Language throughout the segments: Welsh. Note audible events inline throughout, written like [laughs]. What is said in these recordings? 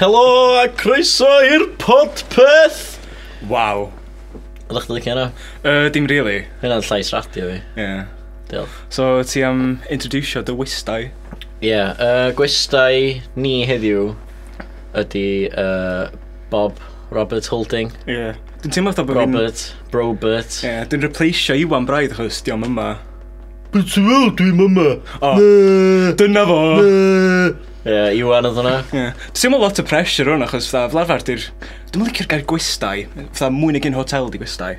Helo a croeso i'r podpeth! Waw. Ydych chi'n licio hynna? Uh, dim really. Hynna'n llais radio fi. Yeah. Diolch. So ti am introducio dy wistau. Ie, yeah, uh, gwestai ni heddiw ydy uh, Bob Robert Holding. Yeah. Dwi'n teimlo fatha bod fi'n... Robert, Robert. Yeah, dwi'n replaceio Iwan Braidd achos diom yma. Beth ti'n fel dwi'n yma? O. Dyna fo! Ie, Iwan oedd hwnna. Yeah. Dwi'n teimlo lot o pressure o'n achos fatha, fel arfer di'r... Dwi'n licio'r gair gwestai. Fatha mwy nag un hotel di gwestai.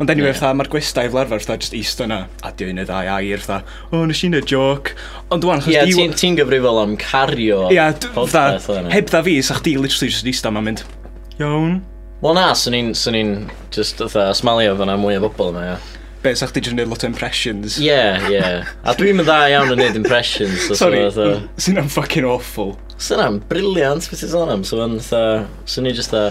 Ond anyway, Ie. fatha, mae'r gwestai fel arfer fatha, just eist yna. A di un y ddau air, fatha, o, nes i'n y joc. Ond dwi'n achos Ie, Iwan- ti'n- ti'n gyfrifol am cario Ia, podpeth oedd dda, hwnna. heb dda fi, sa chdi literally just eista ma'n mynd Iawn Wel na, swn i'n, swn i'n, just oedd smalio fyna mwy o bobl yma, ie. Be, sa chdi jyst yn neud lot o impressions Ie, ie. A dwi'n mynd dda iawn yn neud impressions. os Sorry, Mm, oedd, yy, sy'n am fucking awful Sy'n am briliant, beth ti'n sôn am? So yn dda, sy'n ni jyst dda,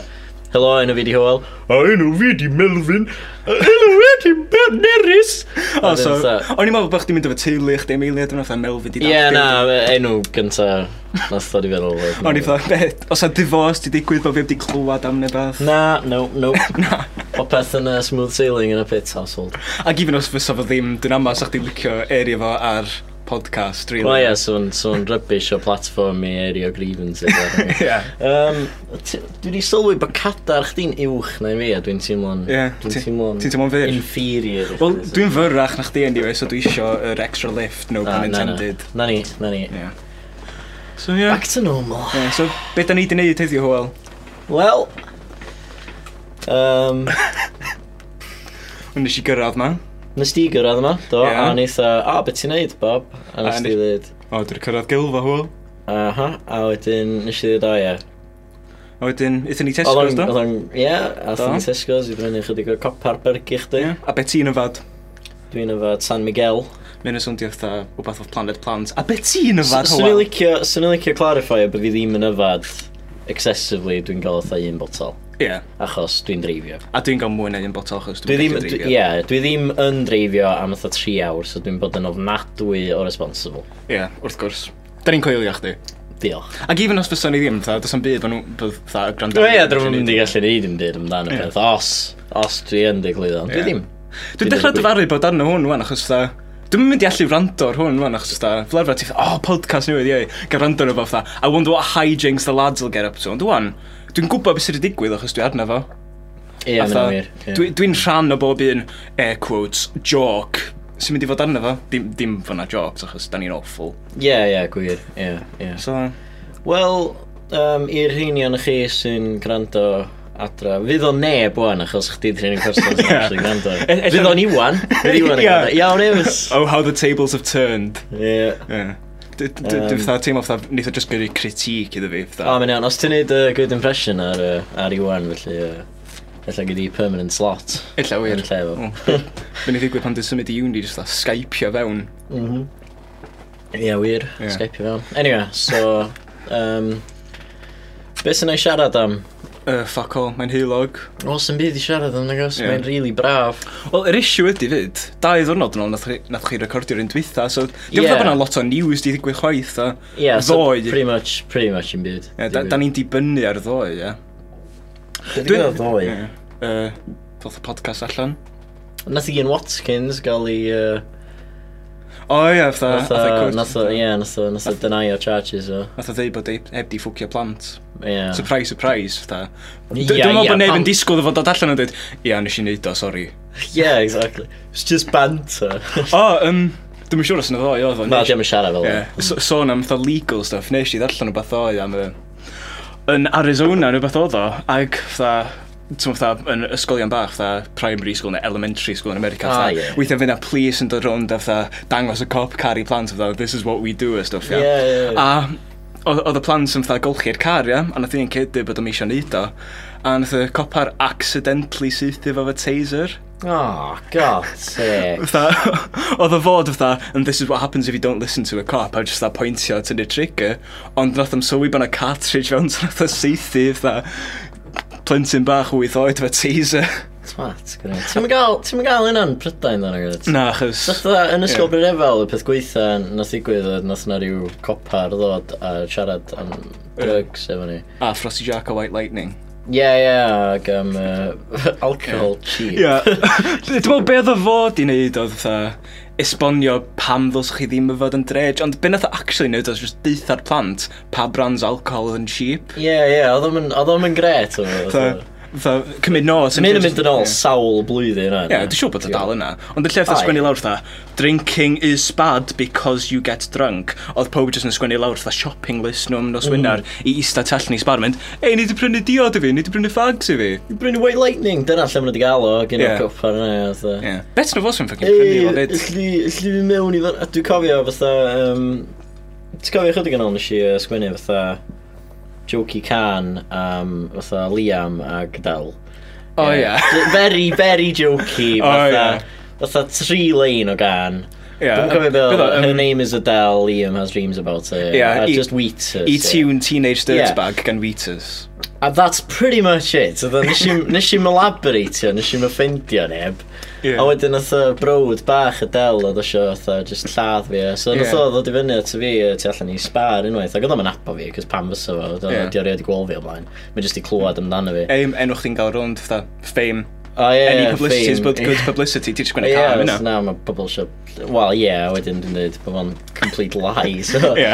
helo, enw fi di Howell. A enw fi di Melvin. A enw fi di Ben Neris. O, so, Wedyn fatha- o'n i'n meddwl bod chdi'n mynd efo teulu eich dim eiliad Dwi'n fatha Melvin di Ie, na, enw gynta, nath ddod i feddwl. oedd- O'n i'n fatha, be, os a divorce di digwydd bod fi wedi clywed am neu beth Na, no, no. [laughs] Na Popeth yn uh, smooth sailing yn y pit household. Ac even os fysa fo ddim, dyn ama sa chdi'n licio eri fo ar podcast, really Wel ie, so'n so rybys o platform i area grievances. [laughs] Ie. um, ti- dwi wedi sylwi bod cadar chdi'n uwch na i fi, a dwi'n teimlo'n... Ie, ti- Dwi'n teimlo'n... ti'n teimlo'n fyr? Inferior. i Wel, chdi, so- dwi'n fyrrach na chdi anyway, so dwi isio yr extra lift, no Na, pun Ah, na, na. intended Na ni, na ni. Ie. So, ie Back to normal. Ie, So, be da ni di neud heddiw, Hwyl? Wel... Um, Ond nes i gyrraedd ma. nes di gyrraedd yma, do, Ie. yeah. a nes a, a, beth ti'n neud, Bob? A A nes di nes- ddweud, O, dwi'n cyrraedd gilfa, Hwyl. aha, a wedyn nes i ddweud, o ie. A wedyn, eithon ni Tesco's, Oedd do? o'n, ie, Do. a thyn Tesco's, i brynu chydig o copar bergi chdi. Ie. A beth ti'n yfad? Dwi'n efo San Miguel. Mae'n swndio fatha wbeth o'r Planet Plant. A beth ti'n S- yfad, Swn i'n Hwyl? licio, swn i'n licio clarify bod fi ddim yn yfad excessively, dwi'n gael otha un botol, Ie. achos dwi'n dreifio. A dwi'n gael mwy na un botol, achos Dwi dwi'n ddim, gallu dwi- dreifio. ie, dwi ddim yn dreifio am fatha 3 awr, so dwi'n bod yn ofnadwy o responsible. Ie, wrth gwrs. Da ni'n coelio chdi. Diolch. Ac even os fysa ni ddim, fatha, does am byd fan nhw, fydd fatha y gwrando. Dwi e, dwi'n mynd i gallu neud dim byd amdano Ie. yeah. peth, os, os dwi yn diglydd ond, dwi Ie. ddim. Dwi'n dechrau dyfaru bod arno hwn, wan, achos fatha... Dwi'n mynd i allu rando ar hwn, wan, achos fatha... Fel arfer ti fatha, oh, podcast newydd, iei. Gael rando arno fo, fatha, I wonder what hijinks the lads will get up to. Ond wan, dwi'n gwybod beth sydd wedi digwydd, achos dwi arno fo. Ie, mae'n Fatha, wir. ie. dwi- Dwi'n rhan o bob un air quotes, joc, sy'n mynd i fod arno fo. Dim, dim fyna jocs, achos da ni'n awful. Ie, ie, gwir. Ie, ie. So, Wel, um, i'r rheinion chi sy'n gwrando adra, fydd o neb wan, achos chdi ddyn ni'n [laughs] person sy'n Ie. actually gwrando. E- ella- Fydd o'n [laughs] Iwan, fydd Iwan yn Ie. gwrando. Iawn, Ews. oh, how the tables have turned. Ie. Ie. Dwi- dwi- dwi- Dwi'n Yym. fatha teimlo fatha, wnaeth o just gyrru critique iddo fi, O, fatha. mae'n iawn, os ti'n neud uh, good impression ar, uh, ar Iwan, felly, uh, felly gyda i permanent slot. Ella wir. Yn lle fo. O, be- Be ni ddigwydd pan dwi'n symud i uni, just fatha skypeio fewn. Mhm. Ie, wir. Ie. Yeah. Skype i fewn. Anyway, so... Um, Be sy'n ei siarad am? Uh, fuck all, mae'n heulog. O, sy'n byd i siarad am, nagos? Ie. Yeah. Mae'n rili really braf. Wel, yr issue ydy fyd, dau ddwrnod yn ôl nath chi- nath chi recordio'r un dwytha, so dwi'n Ie. yeah. bod yna lot o news di ddigwydd chwaith, a Ie, yeah, so Ddoe. pretty much, pretty much yn byd. Ie, da, da ni'n dibynnu ar ddoe, ie. Dwi'n gwybod ddoi. Ie. Yy, Ddoth y podcast allan. Nath i Ian Watkins gael i... Uh, O ie, fatha... nath fatha o, cwrt- nath o, ie, nath o, nath o deny o charges o. Nath o ddeud bod ei- heb di ffwcio plant. Ie. Surprise, surprise, fatha. Ie, D- Dwi'n meddwl ie, bod neb pam- yn disgwyl ddod dod allan yn dweud, ia, nes i neud o, sori. Yeah, exactly. It's just [laughs] banter. O, ym, dwi'n siŵr os yna ddoe, oedd o. Na, nes- ddim yn siarad fel Oh, Ie, hwnna. so- sôn am fatha legal stuff, nes i ddarllen o beth oedd am y... Yn Arizona, neu beth oedd o, ac fatha... Ti'n fatha, yn ysgolion bach, fatha primary school neu elementary school yn America, Ah, fatha, ie. weithio fyna police yn dod rownd a fatha, dangos y cop car i plant, fatha, this is what we do, a stuff, ia. Ie, ie, ie. A oedd oedd y plant yn fatha golchi'r car, ia, a nath i'n cedu bod o'n eisiau neud o, a nath y copar accidentally sythu fo fo taser. Oh, god sake. Fatha, [laughs] oedd y fod fatha, and this is what happens if you don't listen to a cop, a just that pointio at the trigger, ond nath am sylwi bod yna [laughs] cartridge fewn, so nath o seithi, fatha, plentyn bach wyth oed fe taser. Twat, gwneud. Ti'n gael, ti'n gael yna'n prydain dda'n agos? [laughs] Na, chys... Nath dda, yn ysgol yeah. brefel, y peth gweitha nath ddigwydd oedd nath na ryw copar ddod a siarad am drugs efo ni. A Frosty Jack a White Lightning. Ie, ie, ac am uh, [laughs] alcohol cheap. Ie. [laughs] Dwi'n meddwl be oedd y fod i wneud oedd fatha esbonio pam ddylswch chi ddim y fod yn dredge, ond be nath o actually wneud oedd just deitha'r plant pa brands alcohol oedd yn cheap. Ie, ie, oedd o'm yn- oedd o'm yn gret o'n fawr. Fatha, fatha, cymryd nos. Mae'n mynd yn ôl sawl blwyddyn yna. Ie, dwi'n siŵr bod o dal yna. Ond y lle fatha Aye. sgwennu lawr fatha, drinking is bad because you get drunk. Oedd pob jyst yn sgwennu lawr fatha shopping list nhw'n nos Mm. wynar i eista tell ni sbar mynd, ei, ni wedi prynu diod i fi, ni wedi prynu fags i fi. Bryn White Lightning, dyna lle ma'n wedi gael o, gen Ie. i'r copar yna. fatha. Ie. Bet nhw fos yn ffocin Ei, prynu o alli fyd. fi mewn i fan... Dwi'n cofio fatha... Um, Ti'n cofio chydig yn ôl nes i yy, sgwennu fatha Jokey Khan am fatha Liam ag Del. O ie. Very, very jokey. [laughs] O, Fatha, fatha tri lein o gan. Ie. Dwi'n cofio Beth fel, o, her yym, name is Adele, Liam has dreams about her. Ie, Yeah, I i- just wheat her. I so- tune teenage Ie. dirtbag gan Wheaters. A that's pretty much it. So, nes i'm- nes i'n elaboratio, nes i'n offendio neb. A wedyn oedd y brod bach y del oedd eisiau oedd just lladd fi. So Ie. yeah. oedd o ddod i fyny at fi yy, tu allan i spar unwaith. Ac oedd o'n apo fi, cos pam fysa fo, oedd Ie. yeah. di oed i gweld fi o blaen. Mae jyst i clywed amdano fi. Eim, enw chdi'n gael rownd fatha, fame. O ie, Any publicity is fame. but [laughs] good publicity. Ti'n sgwennu Ie, cam os yna. na, mae pobl eisiau... Wel, ie, yeah, wedyn dwi'n dweud bod fo'n complete lie. So, [laughs] Ie.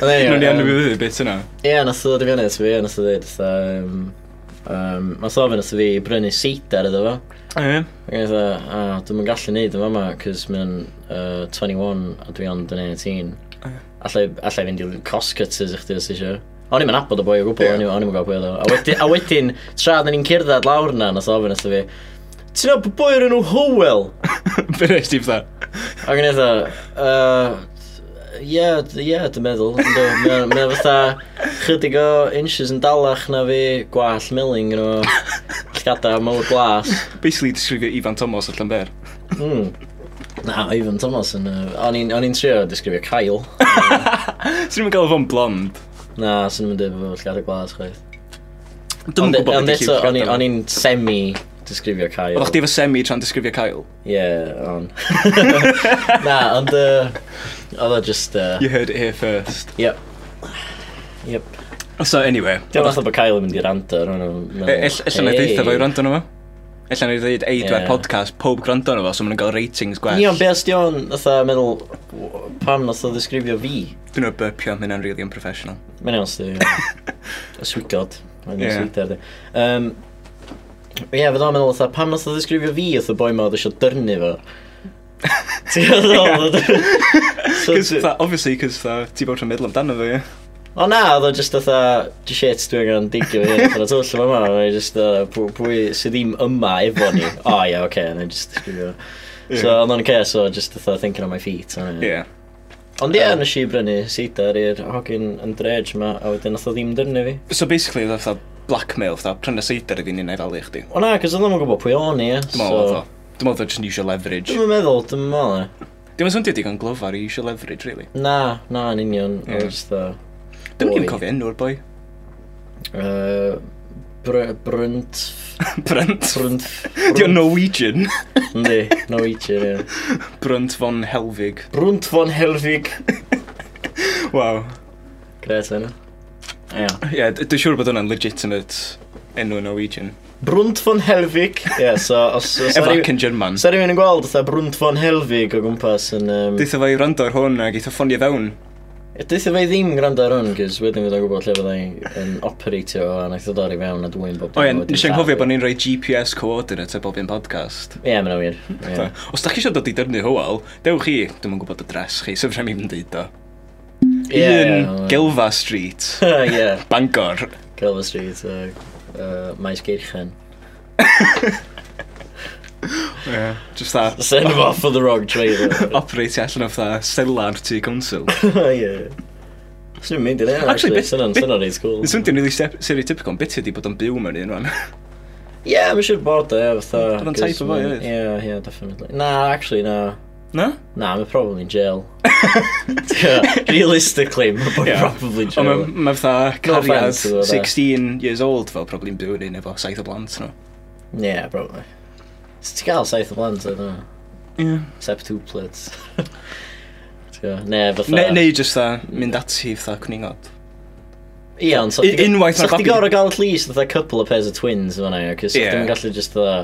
Anyway, Nw'n i yym, enw i fydd bit yna. Ie, yeah, nath o ddod i fyny at fi, nath o ddweud, um, um, nath o fyny at fi i brynu seidar iddo fo. Ie. Ac oedd e, a dwi'n yn gallu neud yn fama, cys mae'n uh, 21 a dwi ond yn 18. Allai, allai fynd i cost cutters i chdi os ti eisiau. O'n i'n mynd abod o boi o gwbl, Ie. o'n i'n gwybod pwy oedd o. A wedyn- A wedyn, tra dyn ni'n cerdded lawr na, nath ofyn ysdi fi, ti'n gwybod bod boi o'r enw Howell? [laughs] Be nes ti fatha? Ac yn eitha, yy, ie, d- ie, dwi'n meddwl. yndw. Mae o- mae o fatha chydig o inches yn dalach na fi, gwall milling, yn o, llgada mowr glas. Basically, disgrifio Ifan Thomas o Llanber. Mm. Na, Ivan Thomas yn... Uh, o'n i'n o'n i'n trio disgrifio Kyle. [laughs] Swn i'n gael fo'n blond. Na, sy'n mynd efo llgad y glas chwaith. Dwi'n Ond- gwybod Ond beth i eto, o'n i- o'n chi. i'n semi disgrifio Kyle. Oeddech chdi efo semi tra'n disgrifio Kyle? Ie, [laughs] on. Na, ond... Uh, oedd o just... Uh, You heard it here first. yep. Yep. So, anyway. Dwi'n fath o bod Kyle yn mynd i rando. ar hwn, o'n i'n E- meddwl, ell- Ella na i "Hey." ddeitha fo'i rando nhw fo. Ella na i ddeud eidwa'r Ie. podcast, pob gwrando nhw fo, so maen nhw'n cael ratings gwell. Ie, ond be os di o'n fatha meddwl w- pam nath o ddisgrifio fi? Dwi'n o'r burpio, mae hynna'n really [laughs] unprofessional. Mae'n iawn sydd. Y swigod. Mae'n Ie. iawn sydd. Um, Ie, fydd o'n meddwl, fatha, pam nath o ddisgrifio fi oedd y boi ma oedd eisiau dyrnu [laughs] fo? Ti'n gwybod? So Cos, ti- fatha, obviously, cos fatha, ti bod rhan meddwl amdano fo, ie. O na, oedd o just fatha, di shit dwi'n gan digio fi hyn, oedd o twll yma, mae'n just fatha, pw- pwy sydd ddim yma efo ni. O ie, oce, na just disgrifio. Ie. So, ond o'n cas o just fatha thinking on my feet. o'n i. Ie. Ond ie, nes i brynu seidar i'r hogyn yn dredge ma, a wedyn nath o ddim dyrnu fi. So, basically, oedd o fatha blackmail, fatha, prynu seidar i fi'n unai dalu i chdi. O na, cos oedd o'n gwybod pwy o'n i, Dwi'n meddwl oedd o. Dwi'n meddwl oedd o just yn iwsio leverage. Dwi'n meddwl, dwi'n meddwl e. Dwi'n meddwl swndio digon glyfar i iwsio leverage, really. Na, na, yn union. Ie. Yeah. Just the... Dwi'n meddwl cofio enw'r boi. [laughs] Uh, br brynt... Brynt. [laughs] Brynt... Di o'n Norwegian. [laughs] Yndi, Norwegian, ie. Brynt von Helvig. Brynt von Helvig. Waw. Gret, yna. Ie. Ie, yeah, dwi'n siŵr bod hwnna'n legitimate enw Norwegian. Brynt von Helvig. Ie, yeah, so... Os, os Efo ac yn German. Sa rhywun yn gweld fatha Brynt von Helvig o gwmpas yn... Um, Deitha fo i rando ar hwn ac eitha ffonio fewn. Dyth fe ddim gwrando ar hwn, cys wedyn fydd o'n gwybod lle fyddai yn operatio a naeth o dorri fewn a dwi'n bob... O ie, nes i'n cofio bod ni'n rhoi GPS coordinate ar bob un podcast. Ie, mae'n wir. Yeah. ie. Os da chi eisiau dod i dyrnu hwyl, dewch chi, dwi'n yn gwybod adres chi, sef rhaid i'n deud o. Ie, Un wel. Gilfa Street, [laughs] Ie. Bangor. Calvin Street, uh, uh, Maes Geirchen. Yeah. Just that. Send him off for the wrong trail. [laughs] Operate allan o'r fatha selar tu council. [laughs] yeah. Swn i'n mynd i ddeo, Actually, actually. bit- Swn i'n bit- swn i'n cool. Dwi'n swnio'n really seri typical, ond beth ydi bod o'n byw mewn un rwan. Ie, mae'n siŵr bod o, ie, fatha. Oedd o'n cos type o foi, ma'n- oedd? Ie, ie, definitely. Na, actually, na. [laughs] Na? Na, mae'n probably in [laughs] jail. Ti'n- Realistically, mae'n bod Ie. probably in Oh, Ond jail. mae- mae fatha cariad offence iddo fo, de. 16 years old fel probably'n byw yn un efo saith o blant nhw. Ie, probably. Ti'n cael saith o blant, I don't know. Ie. [laughs] Septuplets. Ti'n gwbo? Ne, fatha... Ne- Neu jyst a mynd ati fatha [laughs] cwningod. Ie, ond Un- unwaith So ma'r chdi babi- gorau gael at least a couple of pairs of twins fyna i, cos Ie. yeah. ddim yn gallu just dda...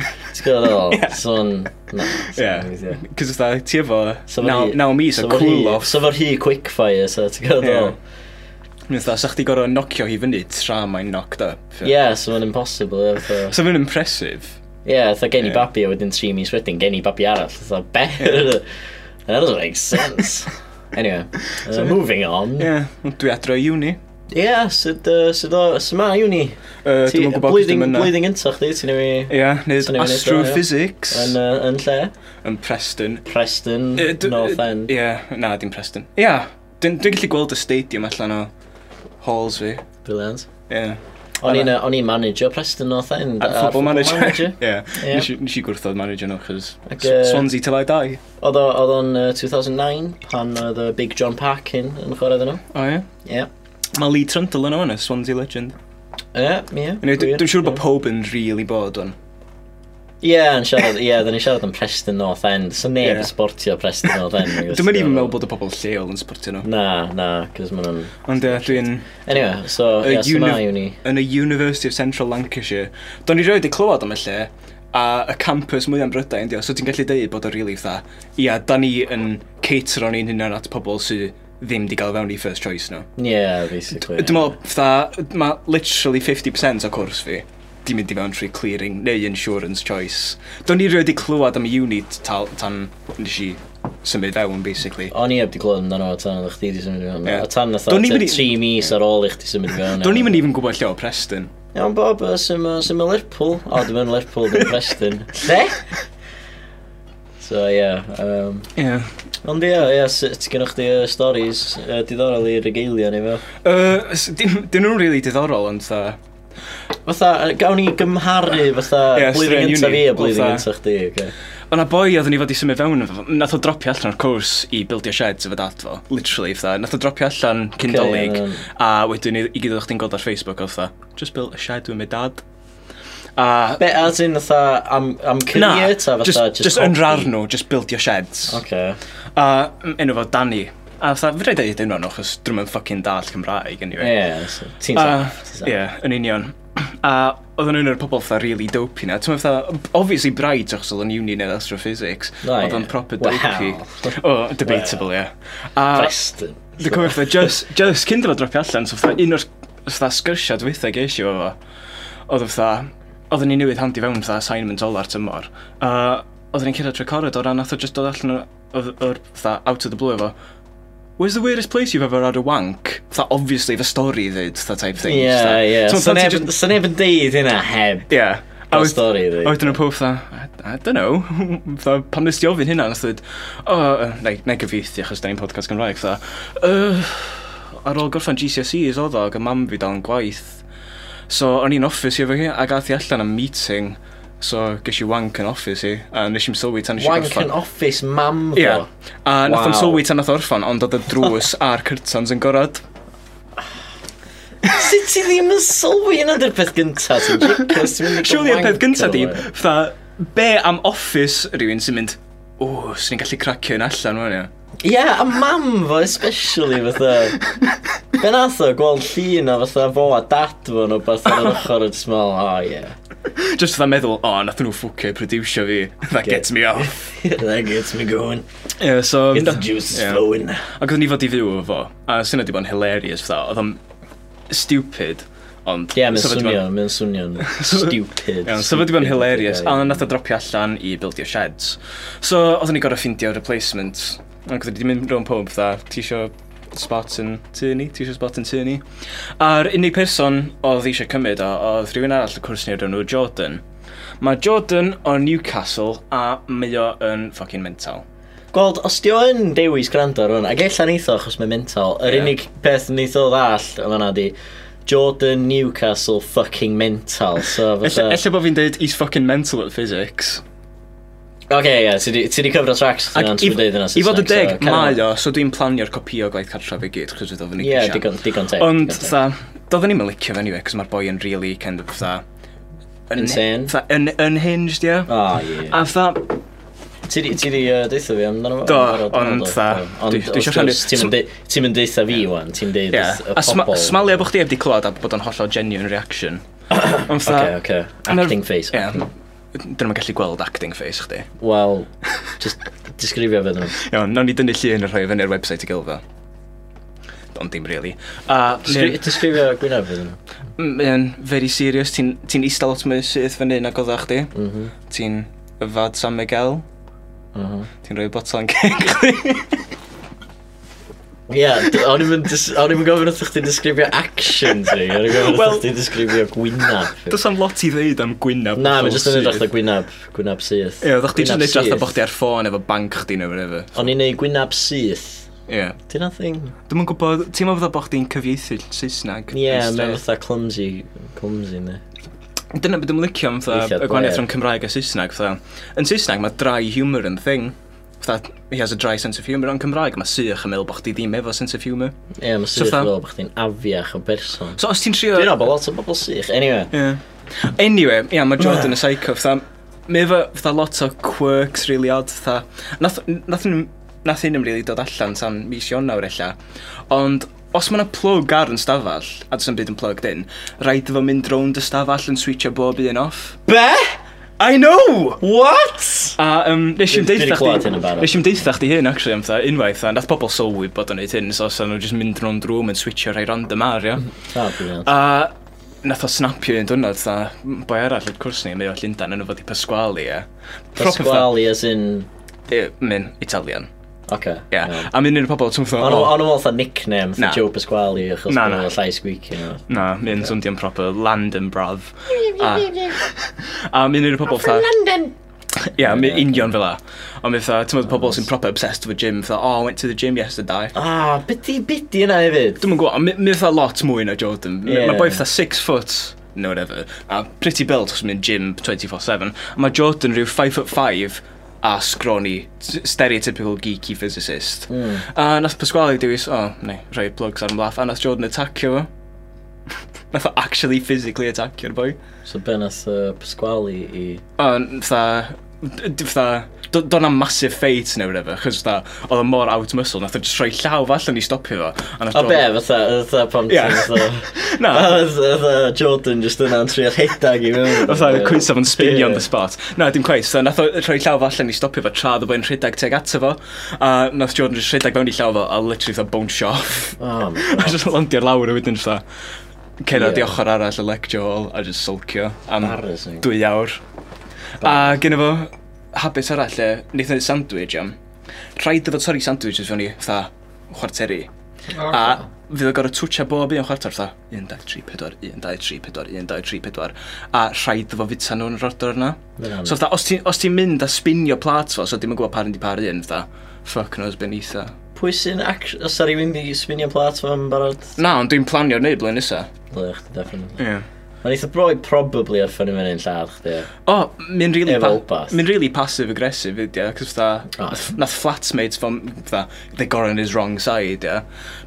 Ti'n gwybod [laughs] ddol? Ie. So yn... Na. so Ie. yn weithio. Cos fatha, ti efo So fo naw hi- naw mis o so fo hi- cool off. So fo'r hi quickfire, so ti'n gwybod Ie. ddol? Mynd fatha, sa chdi gorau nocio hi fyny tra mae'n knocked up. Ie, so fo'n impossible. ie, fatha- So fy'n impressive. Ie, fatha gen i Ie. babi a wedyn tri mis wedyn gen i babi arall. Fatha, be? [laughs] That doesn't [laughs] make sense. Anyway, uh, moving on. Ie, ond dwi adro i uni. Ie, sut uh, sut o- sut ma' uni? Yy, Ti- Dwi'm yn gwybod beth blwyddyn- dim yna. Blwyddyn gynta chdi, ti'n ei Ie, neud Swn i'n mynd eto, ie. astrophysics yn, uh, yn lle. yn Preston. Preston, Yy, dw- North yy, End. Ie, na, dim Preston. Ie, dwi'n dwi'n gallu gweld y stadium allan o halls fi. Brilliant. Ie. O'n Ie. i'n o'n i'n manager Preston North End. A a'r football manager. [laughs] Ie. Ie. Nes i- nes i gwrthod manager nhw, chos Ac, S- yy, Swansea till I die. Oedd o- oedd o'n uh, 2009 pan oedd y Big John Parkin yn chwarae iddyn nhw. O ie. Ie. Mae Lee Trundle yno yna, Swansea legend. Ie, ie. Anyway, dwi- wir, Dwi'n siŵr bod ie. pob yn rili bod o'n. Ie, yn siarad, ie, dyn ni'n siarad am Preston North End. So neb Ie. yn sportio Preston North [laughs] End. nag oes? Dwi'n mynd even meddwl bod y pobl lleol yn sportio nhw. Na, na, cos maen nhw'n... Ond ie, dwi'n... Anyway, so, Y ie, so ma uni- i ni. yn y University of Central Lancashire. Do'n i roi wedi clywed am y lle, a y campus mwyaf am brydain, dio, so ti'n gallu deud bod o'r rili fatha, ia, da ni yn cater o'n un hynna'n at pobl sydd ddim di gael fewn i first choice nhw. Ie, basically. Dwi'n meddwl, fatha, mae literally 50% o cwrs fi di mynd i fewn trwy clearing neu insurance choice. Do'n i roi wedi clywed am y uni t- tal- tan nes i symud fewn, basically. O'n i heb di glod amdano fo tan oedd chdi di symud i fewn. Ie. A tan oedd Do'n i'm yn i- 3 mis ar ôl i chdi symud i fewn. Do'n i'm yn even gwybod lle o Preston. Iawn Bob, yy, sy'n ma- sy'n ma Lerpwl. O, dwi'n mynd Lerpwl, dwi'n Preston. Ne? So, ie. yym, Ie. Yeah. Ond ie, ie, sut gynnwch chi stories yy, diddorol i'r regeilio ni fel? Uh, dyn nhw'n rili really diddorol, ond fatha, Fatha, yy, gawn ni gymharu fatha Ie, straeon blwyddyn gynta uni, fi a blwyddyn fatha. gynta chdi. oce? Ond a boi oedden ni fod i symud fewn efo, fo- nath o dropio allan o'r cwrs i bildio sheds efo dad fo, literally, fatha. Nath o dropio allan cyndolig, Ocê, iawn. a wedyn i, i gyd o'ch ti'n gweld ar Facebook, oedd fatha, just built a shed with my dad. A, Be, as in fatha am, am na, career ta fatha? just, just yn hobby? rar nhw, just bildio sheds. Oce. A mm, enw fo Danny. A fatha, fe rhaid ei ddeunio nhw, chos drwy'n mynd ffocin dall Cymraeg, anyway. Ie, so, ti'n A- saff, ti'n Ah, Ie, saff. yeah, yn union. A oedden nhw'n yr pobol fatha really dopey na. Ti'n fatha, obviously braidd achos oedd yn uni neu astrophysics. Na, Oedd yn ie. proper Wel. dopey. [laughs] O, debatable, ie. A Preston. dwi'n cofio fatha, just, just cyn dyma dropio allan, so fatha, un o'r fatha sgyrsiad weithiau geisio fo fo, oedd o fatha, oedden ni newydd handi fewn fatha assignment all ar tymor. A oedden ni'n cyrraedd trwy corridor a nath o just dod allan o- o'r o'r fatha out of the blue efo, Where's the weirdest place you've ever had a wank? Tha, obviously, the story ddyd, tha type thing. Ie, fatha. ie. So, So fatha, ti neb- jyst- so neb yn deud hynna heb. Ie. A Gael wed- stori, A ddi. wedyn y pob tha, I, I don't know, [laughs] tha, pam nes ti ofyn hynna, nath dweud, o, oh, na, na i gyfeithi achos da ni'n podcast Gymraeg, tha, uh, ar ôl gorffan GCSEs oedd E o, ac y mam fi dal yn gwaith, so o'n i'n office i efo hi, a gath i allan am meeting, so ges i wank yn office i, a nes i'n sylwi tan nes i Wank gorffan. yn office mam fo. Ie, a nath o'n Wow. sylwi tan nath o orffan, ond oedd y [laughs] drws a'r curtains yn gorad. Sut ti ddim yn sylwi yna dy'r peth gynta ti'n jicos? Surely y peth gyntaf di, fatha, be am office rhywun sy'n mynd, o, sy'n ni'n gallu cracio yn allan, wna i. Ie, a mam fo especially fatha. Be nath o, gweld llun o fatha fo a dad fo nhw beth ar yr ochr yn smel, o "Oh, ie. [laughs] Just fatha meddwl, o, oh, nath nhw ffwcio i producio fi. [laughs] That Get- gets me off. That gets me going. [laughs] Yeah, so... Get the juices flowing. Ac oedd ni fod i fyw efo fo. A sy'n wedi bod yn hilarious, fatha. Oedd o'n stupid, ond... Ie, mae'n so fo 'di bod- swnio'n, mae'n swnio'n stupid. Iawn, so fod i bod yn stupid, hilarious, ie, a ie. nath o dropio allan i bildio sheds. So, oedden ni gorau ffindio replacement. Ac oedden ni wedi mynd rhwng pob, dda, ti isio spot yn tu ni, ti isio spot yn tu ni. A'r unig person oedd eisiau cymryd o, oedd rhywun arall y cwrs ni o'r enw Jordan. Mae Jordan o Newcastle a mae o yn ffocin mental. Gweld, os di o yn dewis gwrando ar hwn, ac ella neitho achos mae'n mental, yr Ie. yeah. unig beth neitho ddall yn fanna di, Jordan Newcastle fucking mental. So, Ella fatha... ella bod fi'n deud he's fucking mental at physics. Oce, ie, ti di- ti di cyfro tracks Ac ti'n i- antrwy'n deud yna I fod y deg, mae o, so dwi'n planio'r copio gwaith cartref i gyd, chos oedd o'n Ie, digon, digon teg. Ond, digon teg. dda, doedden ni'n licio fe anyway, cos mae'r boi yn really kind of, dda, Insane. Fatha un- unhinged, ia. O, ie. A fatha, Ti di, ti di uh, deitha fi amdano fo? Do, Barod, ond barod, tha, do. Ond dwi- dwi isio wrth rhannu- gwrs, ti'm yn deu- ti'm yn deitha fi, wan. Ti'n deud ia. y A sma- pobol. smalia bo chdi heb di clywed a bod o'n hollol genuine [coughs] reaction. Ond Okay, fatha, okay. Yn yr- Acting face. ia. Dyn nhw'n gallu gweld acting face chdi. Wel, just disgrifio fe nhw. Iawn, nawn ni dynnu llun y rhoi fyny ar website i gilfa. Ond dim really. A Disgri- Disgrifio gwynaf fe nhw. mae'n very serious, ti'n ti eistedd lot mwy syth fan hyn ag oedd chdi. Mhm. Ti'n yfad San Miguel, mhm. ti'n rhoi botol [laughs] yn ceng chdi. Ie, d- o'n i'm yn dis- o'n i'm yn gofyn wrth chdi disgrifio action ti, o'n i'n gofyn Wel- wrth chdi disgrifio gwynaf. Does am lot i ddeud am gwynaf. Na, mae'n botol just yn edrych syth. o gwynaf, gwynaf syth. Ie, oedd chdi'n Gwynab neud drach o syth. bod chdi ar ffôn efo banc chdi neu whatever. O'n i'n neud gwynaf syth. Ie. Dyn a thing? Dwi'n yn gwybod, ti'n meddwl bod chdi'n cyfieithu Saesneg? Ie, yn mae'n straight. fatha clumsy, clumsy ne. Dyna beth dwi'n licio am fatha Weithiau y gwahaniaeth blêr. rhwng Cymraeg a Saesneg. Fatha. Yn Saesneg mae dry humour yn thing. Fatha, he has a dry sense of humour. Ond Cymraeg mae sych yn meddwl bod chdi ddim efo sense of humour. Ie, mae So syth fatha- fel bod chdi'n afiach o berson. So os ti'n trio... Dwi'n meddwl lot o bobl sych. Anyway, Yeah. Anyway, ia, mae Jordan yn psycho, fatha, mae efo, fatha, lot o quirks really odd, fatha, nath, nath, nhw- nath un really dod allan tan mis Ionawr ella, ond os mae'na plug ar yn stafall, a dwi'n byd yn plugged in, rhaid efo mynd rownd y stafall yn switcho bob un off. Be? I know! What? A um, nes i'n Dwi- dwi 'di deitha clywed hyn yn barod. Nes i'n deitha chdi hyn, actually, am fatha, unwaith, a nath pobl sylwi bod o'n neud hyn, so os o'n nhw jyst mynd rownd rŵm yn switcho rhai random ar, ia. Ah, brilliant. A nath o snapio un dwrnod, tha, boi arall i'r cwrs ni, mae o Llundan yn fod i Pasquali, e. Pasquale as in... Myn, Italian, Oce. ie. iawn. A mynd i'r pobol, ti'n O'n fatha, o, o'n o'n fatha nickname for Na. Joe Pasquale achos Na, bod na. o'n llai squeaky. no. na, mynd swndi'n proper, land and bradd. A, a mynd i'r pobol, tha, London. ie, mynd Ie. union fel la. Ond mynd tha, ti'n meddwl pobol sy'n proper obsessed with gym, tha, oh, I went to the gym yesterday. Ah, byddi, byddi yna hefyd. Dwi'n gwybod, mynd mynd fatha lot mwy na Jordan. M- Ie. Mae boi fatha 6 foot, no whatever, a pretty built chos mynd gym 24-7. A mae Jordan rhyw 5 foot 5 a scrawny, s- stereotypical geeky physicist. Mm. A nath Pasquale dewis, o, oh, neu, rhoi plugs ar ymlaff, a nath Jordan attackio fo. [laughs] nath o actually physically attackio'r boi. So be nath uh, Pasquale i... A n- fatha, d- d- fatha, do- do'n na massive fate neu whatever, chos fatha, oedd o mor out muscle, nath o just rhoi llaw allan i stopio fo. A nath O be, Jordan- fatha, fatha pam Ie. ti'n fatha... Na, A fatha- Fatha Jordan just yna'n trio hedag i mewn. Fatha cwys o'n Ie. spinio on the spot. Na, dim cwais. So, nath o rhoi llaw fo allan i stopio fo tra ddo bo'n rhedeg teg ato fo. A nath Jordan just rhedeg fewn i llaw fo a literally ddo bownsio off. Oh, my [laughs] A just landio'r lawr a wedyn fatha. Cerad i Ie. ochr arall y lecture hall a just sulcio am Embarrassing. dwy awr. A gyda fo habit arall e, wnaeth o'n sandwich am. Rhaid ddo fo torri sandwiches fewn i fatha chwarteri. A fydd o gorau twtio bob un chwarter fatha 1, 2, 3, 4, 1, 2, 3, 4, 1, 2, 3, 4 a rhaid efo fita nhw'n yr order yna Mae hynna'n- so fatha os ti'n os ti'n mynd a spinio plat fo so dim yn gwybod par yn di par un fatha fuck knows ben eitha Pwy sy'n ac... Os ar i fynd i spinio plat fo'n barod? na ond dwi'n planio neud blyn nesa Ble, chdi definitely. yeah. Mae'n eitha broi probably ar ffynnu mewn i'n lladd chdi. o mi'n really Efo wbath. mi'n really passive aggressive ydy cos fatha O. nath- nath flatmates fo fatha they got on his wrong side yeah.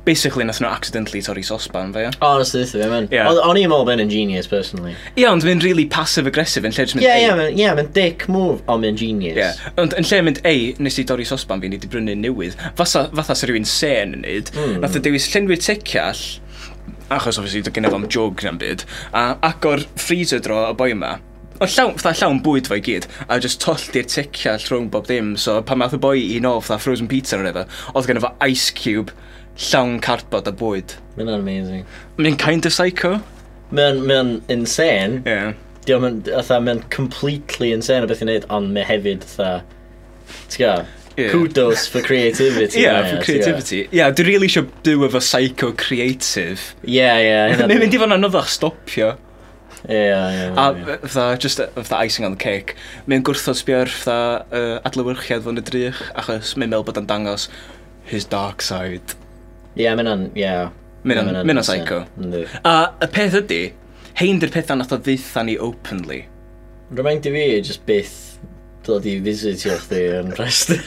basically nath nhw accidentally torri sosban fe ia Honestly, dwi'n meddwl, Ie. man. O'n i'n meddwl ben yn genius, personally. ie ond mi'n really passive aggressive yn lle jyst mynd Ie, "Ei, ie, mae'n- ie, mae'n dick move. O, mae'n genius. Ie, ond yn lle mynd, ei, nes i dorri sosban fi, ni wedi brynu newydd. Fatha, fatha sy'n rhywun sen yn neud. Mm. Nath o dewis llenwi'r tecall, achos obviously dwi'n gynnaf am jog na'n byd, a agor freezer dro y boi yma. Ond llawn, fatha llawn bwyd fo i gyd, a just tollti'r tecall rhwng bob dim, so pan math y boi i no, fatha frozen pizza neu efo, oedd gen fo ice cube, llawn cardboard a bwyd. Mae'n amazing. Mae'n kind of psycho. Mae'n mae'n insane. Ie. Yeah. Diolch yn... Atha, mae'n completely insane o beth i'n neud, ond mae hefyd, atha... Ti'n gael? Ie. Kudos for creativity. Ie, mae, yeah, ti'n creativity. Ie, yeah, dwi really eisiau byw efo psycho creative. gwbo'. Ie, [laughs] ie. hynna Mae'n mynd dwi- i fod yn anoddach stopio. Ie, ie, A ie. fatha, just uh, fatha icing on the cake, mae'n gwrthod sbio ar fatha uh, adlywyrchiad fo'n y drych, achos mae'n meddwl bod o'n dangos his dark side. Ie, mae'n an... Ie. Mae'n Mae hynna'n yeah, insane. psycho. Yndi. A y peth ydy, hein dy'r pethau nath o ddeitha ni openly. Remind i fi, just byth... fatha, dod i visitio chdi yn [laughs] rhestr.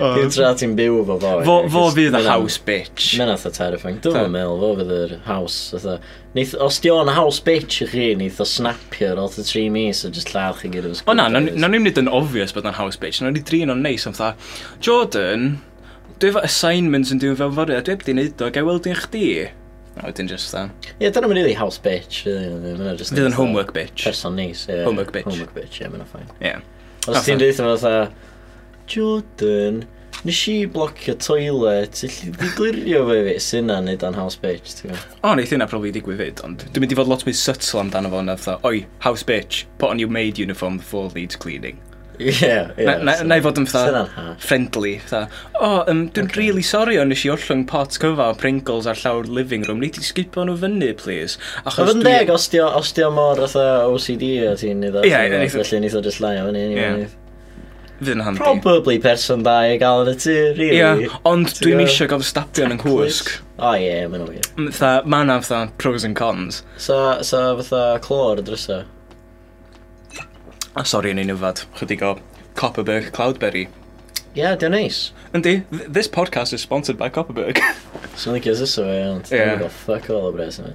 O. Dwi'n tra ti'n byw efo boi. Fo, fo fydd y house bitch. Mae'n atho terrifying. Dwi'n Ta. yn meddwl, fo fydd yr house. Atho. Neith, os di o'n house bitch i chi, neith o snapio ar ôl ty 3 mis a just lladd chi gyda'r O na, na na ni'n mynd yn obvious bod o'n house bitch, na ni'n drin o'n neis am tha, Jordan, dwi efo assignments yn dwi'n fel fory, a dwi heb di neud o, gael weld i'n chdi. A wedyn just tha. Ie, dyna mynd i house bitch. Dyna just... Dydd yn homework bitch. Person neis, ie. Homework bitch. Homework bitch, ie, mae'n ffain. Ie. Os ti'n dweud efo fatha, Jordan, nes i blocio toilet, illi di glirio fe fi, sy'n na nid o'n house bitch, ti'n gwybod? O, neith hynna probably digwydd fyd, ond dwi'n mynd i fod lot mwy subtle amdano fo na fatha, oi, house bitch, put on your maid uniform before needs cleaning. Ie, ie. Na- na- Na i fod yn Sy'n fatha na'n hash. friendly, fatha, o, um, dwi'n Ocê. really sorry o nes i ollwng pot cyfa o Pringles ar llawr living room, neith i sgipo nhw fyny, please. Achos Oedd yn dwi- deg, os di o- os di o mor fatha OCD a ti'n nid o, Ie, ie, neith o- felly nid o just lai o fyny, Ie. anyway. Fydd yn handi. Probably person da i gael yn y tu, really. Ie, ond Ti'n dwi'n gwbod? eisiau gael stabion yn cwsg. O ie, mae'n wir. Fytha, mae yna fytha pros and cons. So, so fatha clor y drysa. A sori yn ei nyfad, chydig o Copperberg Cloudberry. Ie, di'n neis. Yndi, th- this podcast is sponsored by Copperberg. [laughs] Swn i'n gysylltu so fe, ond Ie. dwi'n gael fuck all o bres yma.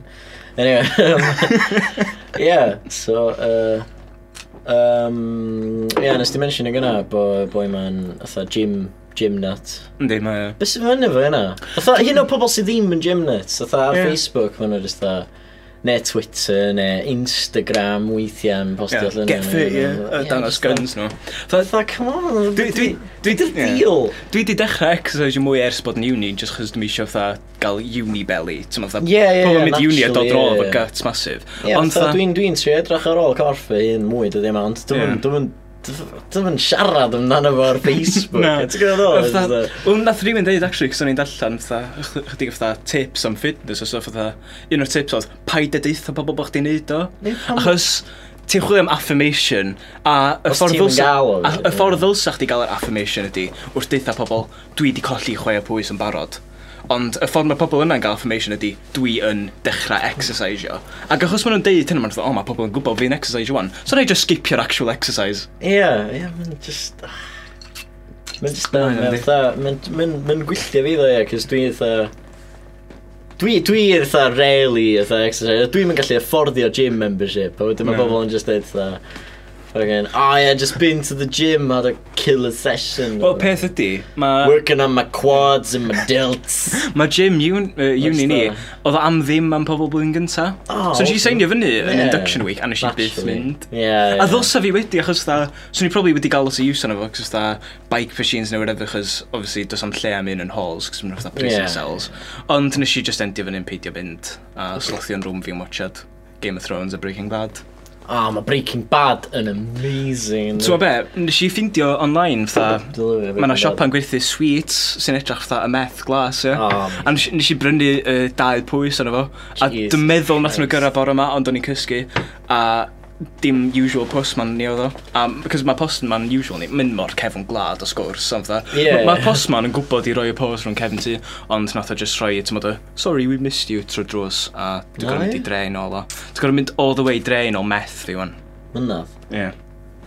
Anyway, um, yeah, so, uh, um, yeah, nes di mention y gynna, bo, boi ma'n, atha, gym, gym nut. Yndi, mae... Be sy'n fyny fo yna? Atha, hyn o pobol sydd ddim yn gym nuts, atha, ar Ie. yeah. Facebook, ma'n just atha, ne Twitter, ne Instagram, weithiau, yn postio Yeah, allan. get fit, ie. Ie, Yy, Dangos just atha- guns nhw. Atha, come on, Dwi- dwi, dwi- dwi, dwi, dwi- dwi, ie. deal. Dwi di dechrau exercise mwy ers bod yn uni, just chos dwi'n eisiau fatha gael uni belly. Ti'n meddwl, Ie, ie, pobl ie, yn mynd i uni a dod naturally, rôl ie, efo ie. guts masif. Ie, Ond fatha, fatha- dwi'n dwi'n trio edrych ar ôl corff fy hun mwy dydy yma, ond dwi'n Ie. yeah. dwi'n dwi'n yn siarad amdano fo [laughs] ar Facebook. Na. Ti'n gwybod Fatha, ddol? Wel, nath rhywun dweud, actually, cos o'n i'n darllen, fatha, ch- chydig o fatha tips am fitness, os oedd fatha, un o'r tips oedd, paid a deitha pobl bod chdi'n neud o. Neu pam- Achos, ti'n chwilio am affirmation, a y Os ffordd ti'm yn ddylsa... gael o, a- felly, Y ffordd ie. ddylsa chdi gael yr affirmation ydi, wrth deitha pobl, dwi di colli chwe o pwys yn barod. Ond y ffordd mae pobl yna'n gael affirmation ydi, dwi yn dechrau exercisio. Ac achos maen nhw'n deud hynny, maen nhw'n dweud, o, mae pobl yn gwybod fi'n exercisio wan. So na i just skipio'r actual exercise. Ie, ie, mae'n just... ah. Mae'n just Mae down, hynna'n mae'n di- fatha- mae'n- mae'n- mae'n gwylltio fi ddo, ie, cos dwi'n eitha... Dwi, dwi eitha rarely eitha exercise, dwi'n mynd gallu affordio gym membership, a wedyn mae Na. bobl yn just eitha... Fucking, oh yeah, just been to the gym, had a killer session. Wel, peth ydi, mae... Working on my quads and my delts. Mae gym uni, uh, uni ni, What's oedd o am ddim am pobl blwyddyn gynta. Oh, so nes i okay. seinio fyny yn Yeah. induction week, a nes i byth Naturally. mynd. Ie, Ie. A ddylsa fi wedi, achos da, swn i probably wedi gael lot o use arno fo, achos da bike machines neu whatever, achos obviously does am lle am un yn halls, achos mae'n fatha prison Yeah. cells. Ond nes i just endio fyny'n peidio mynd, a slothio'n rhwm fi'n watchad Game of Thrones a Breaking Bad. Ah, mae Breaking Bad yn amazing. Ti'n be, nes i ffeindio online, fatha, Delivery, Mae yna Breaking siop Bad. yn gwerthu sweets sy'n edrych fatha y meth glas, ie. O, A nes, nes i brynu uh, dau pwys arno fo. A Jesus dwi'n meddwl nath nhw Christ. gyrra bore yma, ond o'n i'n cysgu. A dim usual postman ni oedd o. Um, Cos mae postman usual ni, mynd mor cefn glad o sgwrs, am dda. Ie. Mae postman yn gwybod i roi y post rhwng cefn ti, ond nath o just roi, ti'n modd, sorry, we missed you, tro drws, a dwi'n Na, gorau mynd ie. i drein o la. Dwi'n gorau mynd all the way drein o meth fi, wan. Mynadd. Ie.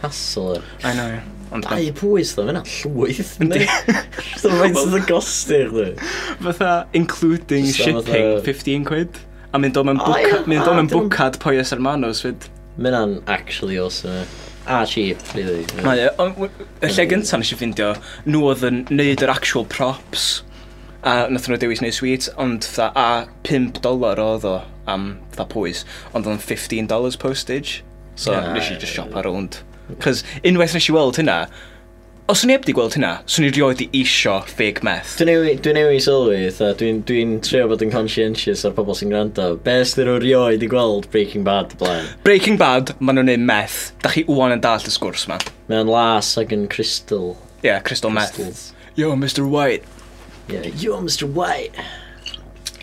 Hassle. I know, ie. Ond Dau pwys ddo, fyna llwyth. Yndi. [laughs] Dwi'n mynd sydd yn gosti, chdi. Fatha, including Just shipping, am fatha- 15 quid. A mynd o mewn O, bwca- ie, mynd o a mewn dim- bwcad Poyos Hermanos fyd. Myna'n actually awesome. A cheap, really. Mae e, ond w- y lle gyntaf nes i ffindio, nhw oedd yn neud yr actual props, a nath nhw dewis neu sweet, ond fatha, a 5 dolar oedd o am fatha pwys, ond oedd o'n 15 dollars postage, so Ie. nes i just shop around. Cos unwaith nes i weld hynna, os o'n i heb di gweld hynna, swn i rioed i isio fake meth. Dwi'n ei dwi newi sylwi, fatha, dwi'n dwi trio bod yn conscientious o'r pobol sy'n gwrando. Be ysdyn nhw'n rioed i gweld Breaking Bad y blaen? Breaking Bad, maen nhw'n neud meth. Da chi wwan yn dall y sgwrs ma. Mae'n las ac yn crystal. Yeah, crystal meth. Crystals. Yo, Mr. White. Yeah, you're Mr White.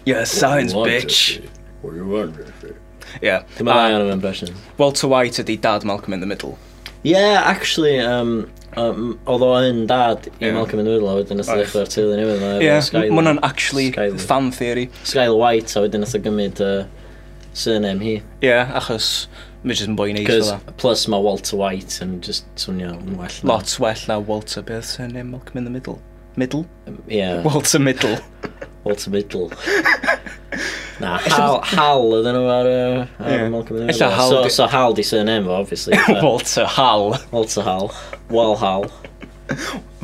You're a science bitch. What do you want, bitch? Yeah. Dwi'n A mynd o'n impression. Walter White ydi dad Malcolm in the Middle. Ie, yeah, actually, um, um, oedd o yn dad i Ie. Malcolm yn Middle, a wedyn nath o Oedd. ddechrau'r teulu newydd yma. Yeah, mae hwnna'n actually Skyler. fan theory. Skyl White, a wedyn nath o gymryd uh, surname hi. Ie, yeah, achos mae jyst yn boi neis fel Cos la. plus mae Walter White yn just swnio yn well. na. Lot well na Walter, beth sy'n name Malcolm in the Middle? Middle? Ie, Walter [laughs] Middle. Walter [laughs] Middle. Na, Hal, Hal ydyn nhw ar, yy, ar Ie. Malcolm in the Ella Middle. Hal So, di- so Hal di surname fo, [laughs] obviously. Walter Hal. Walter Hal. Wal Hal.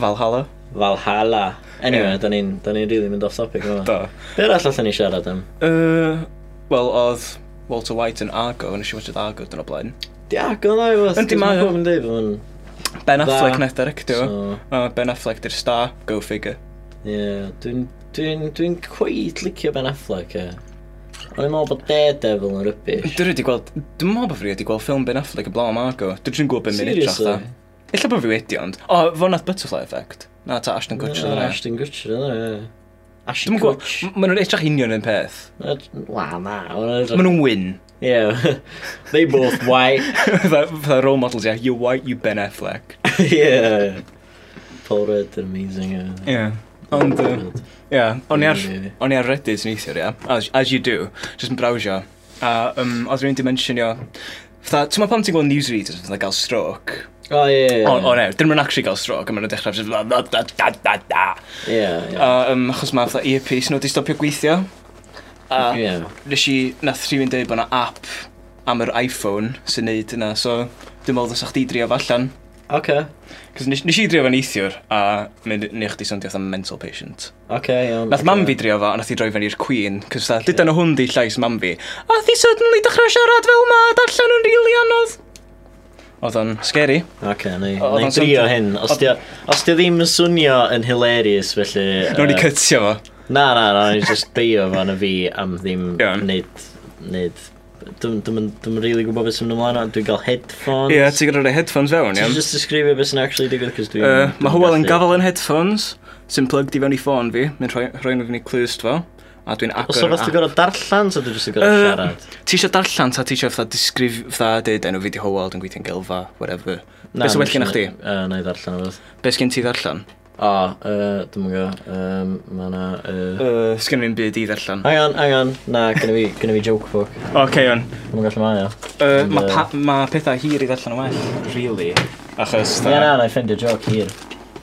Valhalla. Valhalla. Anyway, Ie. da ni'n da ni really mynd off topic yma. Do. Be'r all allan ni siarad am? Uh, Wel, oedd Walter White yn Argo, nes i watchad Argo dyn o blaen. Diag, o'n dda i fod. Yndi, mae o. Yn dweud bod yn... Ben Dda. Affleck net directio. So, Uh, ben Affleck di'r star, go figure. ie, dwi'n... Dwi'n... Dwi'n cweith licio Ben Affleck, e. O'n i'n meddwl bod Daredevil yn rybys. Dwi wedi gweld, dwi'n meddwl bod fi wedi gweld ffilm Ben Affleck y blaen am Argo. Dwi ddim yn gwybod beth mi'n edrych dda. Seriously? Illa bod fi wedi ond. O, oh, fo nath Butterfly Effect. Na, ta Ashton Kutcher Na, dda. Ashton Kutcher, yna, ie. Dwi'n Ashton gwybod, Kutcher. maen nhw'n edrych union yn peth. Ed- Wa, na, o'n Maen edrych... nhw'n win. [laughs] Ie, [laughs] they both white. [laughs] Fytha fytha role models, yeah. You're white, you Ben Affleck. Ie. Paul Rudd yn amazing, ie. Yeah. Ond, Paul uh, Rudd. yeah, o'n i ar, Really. o'n i ar Reddit neithiwr, yeah. As, as you do, just yn browsio. A um, oedd rhywun di mentionio, fytha, ti'n ma pam ti'n gweld newsreaders yn gael stroke? O, ie, ie. O, o ne, dyn nhw'n actually gael stroke, a maen nhw'n dechrau, just blah, blah, da, da, da, da. Ie, A um, achos mae fatha earpiece nhw wedi stopio gweithio. A ie. Ie. nes i, nath rhywun dweud bod yna app am yr iPhone sy'n neud yna, so dwi'n meddwl ddysach chdi drio fo allan. Oce. Cos nes, nes i drio fo'n neithiwr, a mynd neu chdi sondio fatha mental patient. Oce, iawn. Nath mam fi drio fo, a nath i droi fe'n i'r Queen, cos dda, dydan o hwn di llais mam fi. A thi suddenly dechrau siarad fel ma, a darllen yn rili anodd. Oedd o'n scary. Oce, neu O- oedd neu o'n drio swnio- hyn. Os oedd- di o os 'di o ddim yn swnio yn hilarious, felly... Nog ni yy, cytio fo. Na, na, na, ni'n just beio fan y fi am ddim Iawn. neud... neud... Dwi'n rili gwybod beth sy'n mynd ymlaen, ond dwi'n cael headphones. Ie, ti'n gyda'r headphones fewn, Ti'n iawn. just disgrifio beth sy'n actually digwydd, cos dwi'n... Uh, dwi'n mae Hywel yn gallu. gafel yn headphones, sy'n plugged i fewn i ffôn fi, mae'n rhoi, rhoi nhw fyny clust fo, a dwi'n agor... Os o'n fath app. ti'n gorau darllan, so dwi'n just yn gorau Yy, siarad. Ti eisiau darllen ta, ti eisiau fatha disgrif, fatha dweud enw fi di Hywel, dwi'n gweithio'n gylfa, whatever. Na, Be sy'n well nes i- gen i chdi? Yy, Na i ddarllen o beth. Be sgen ti ddarllen? O, uh, dwi'n mwyn go, um, mae na... Uh... Uh, sgen i'n byd i ddarllen. Hang on, hang on, na, gynnu fi, gynnu fi joke book. Oce, okay, on. Dwi'n mwyn gallu mae o. Uh, Ond, Mae yy, pa- ma pethau hir i ddarllen yn well, really. Achos, Ie, na, ta, na, i ffendio joke hir.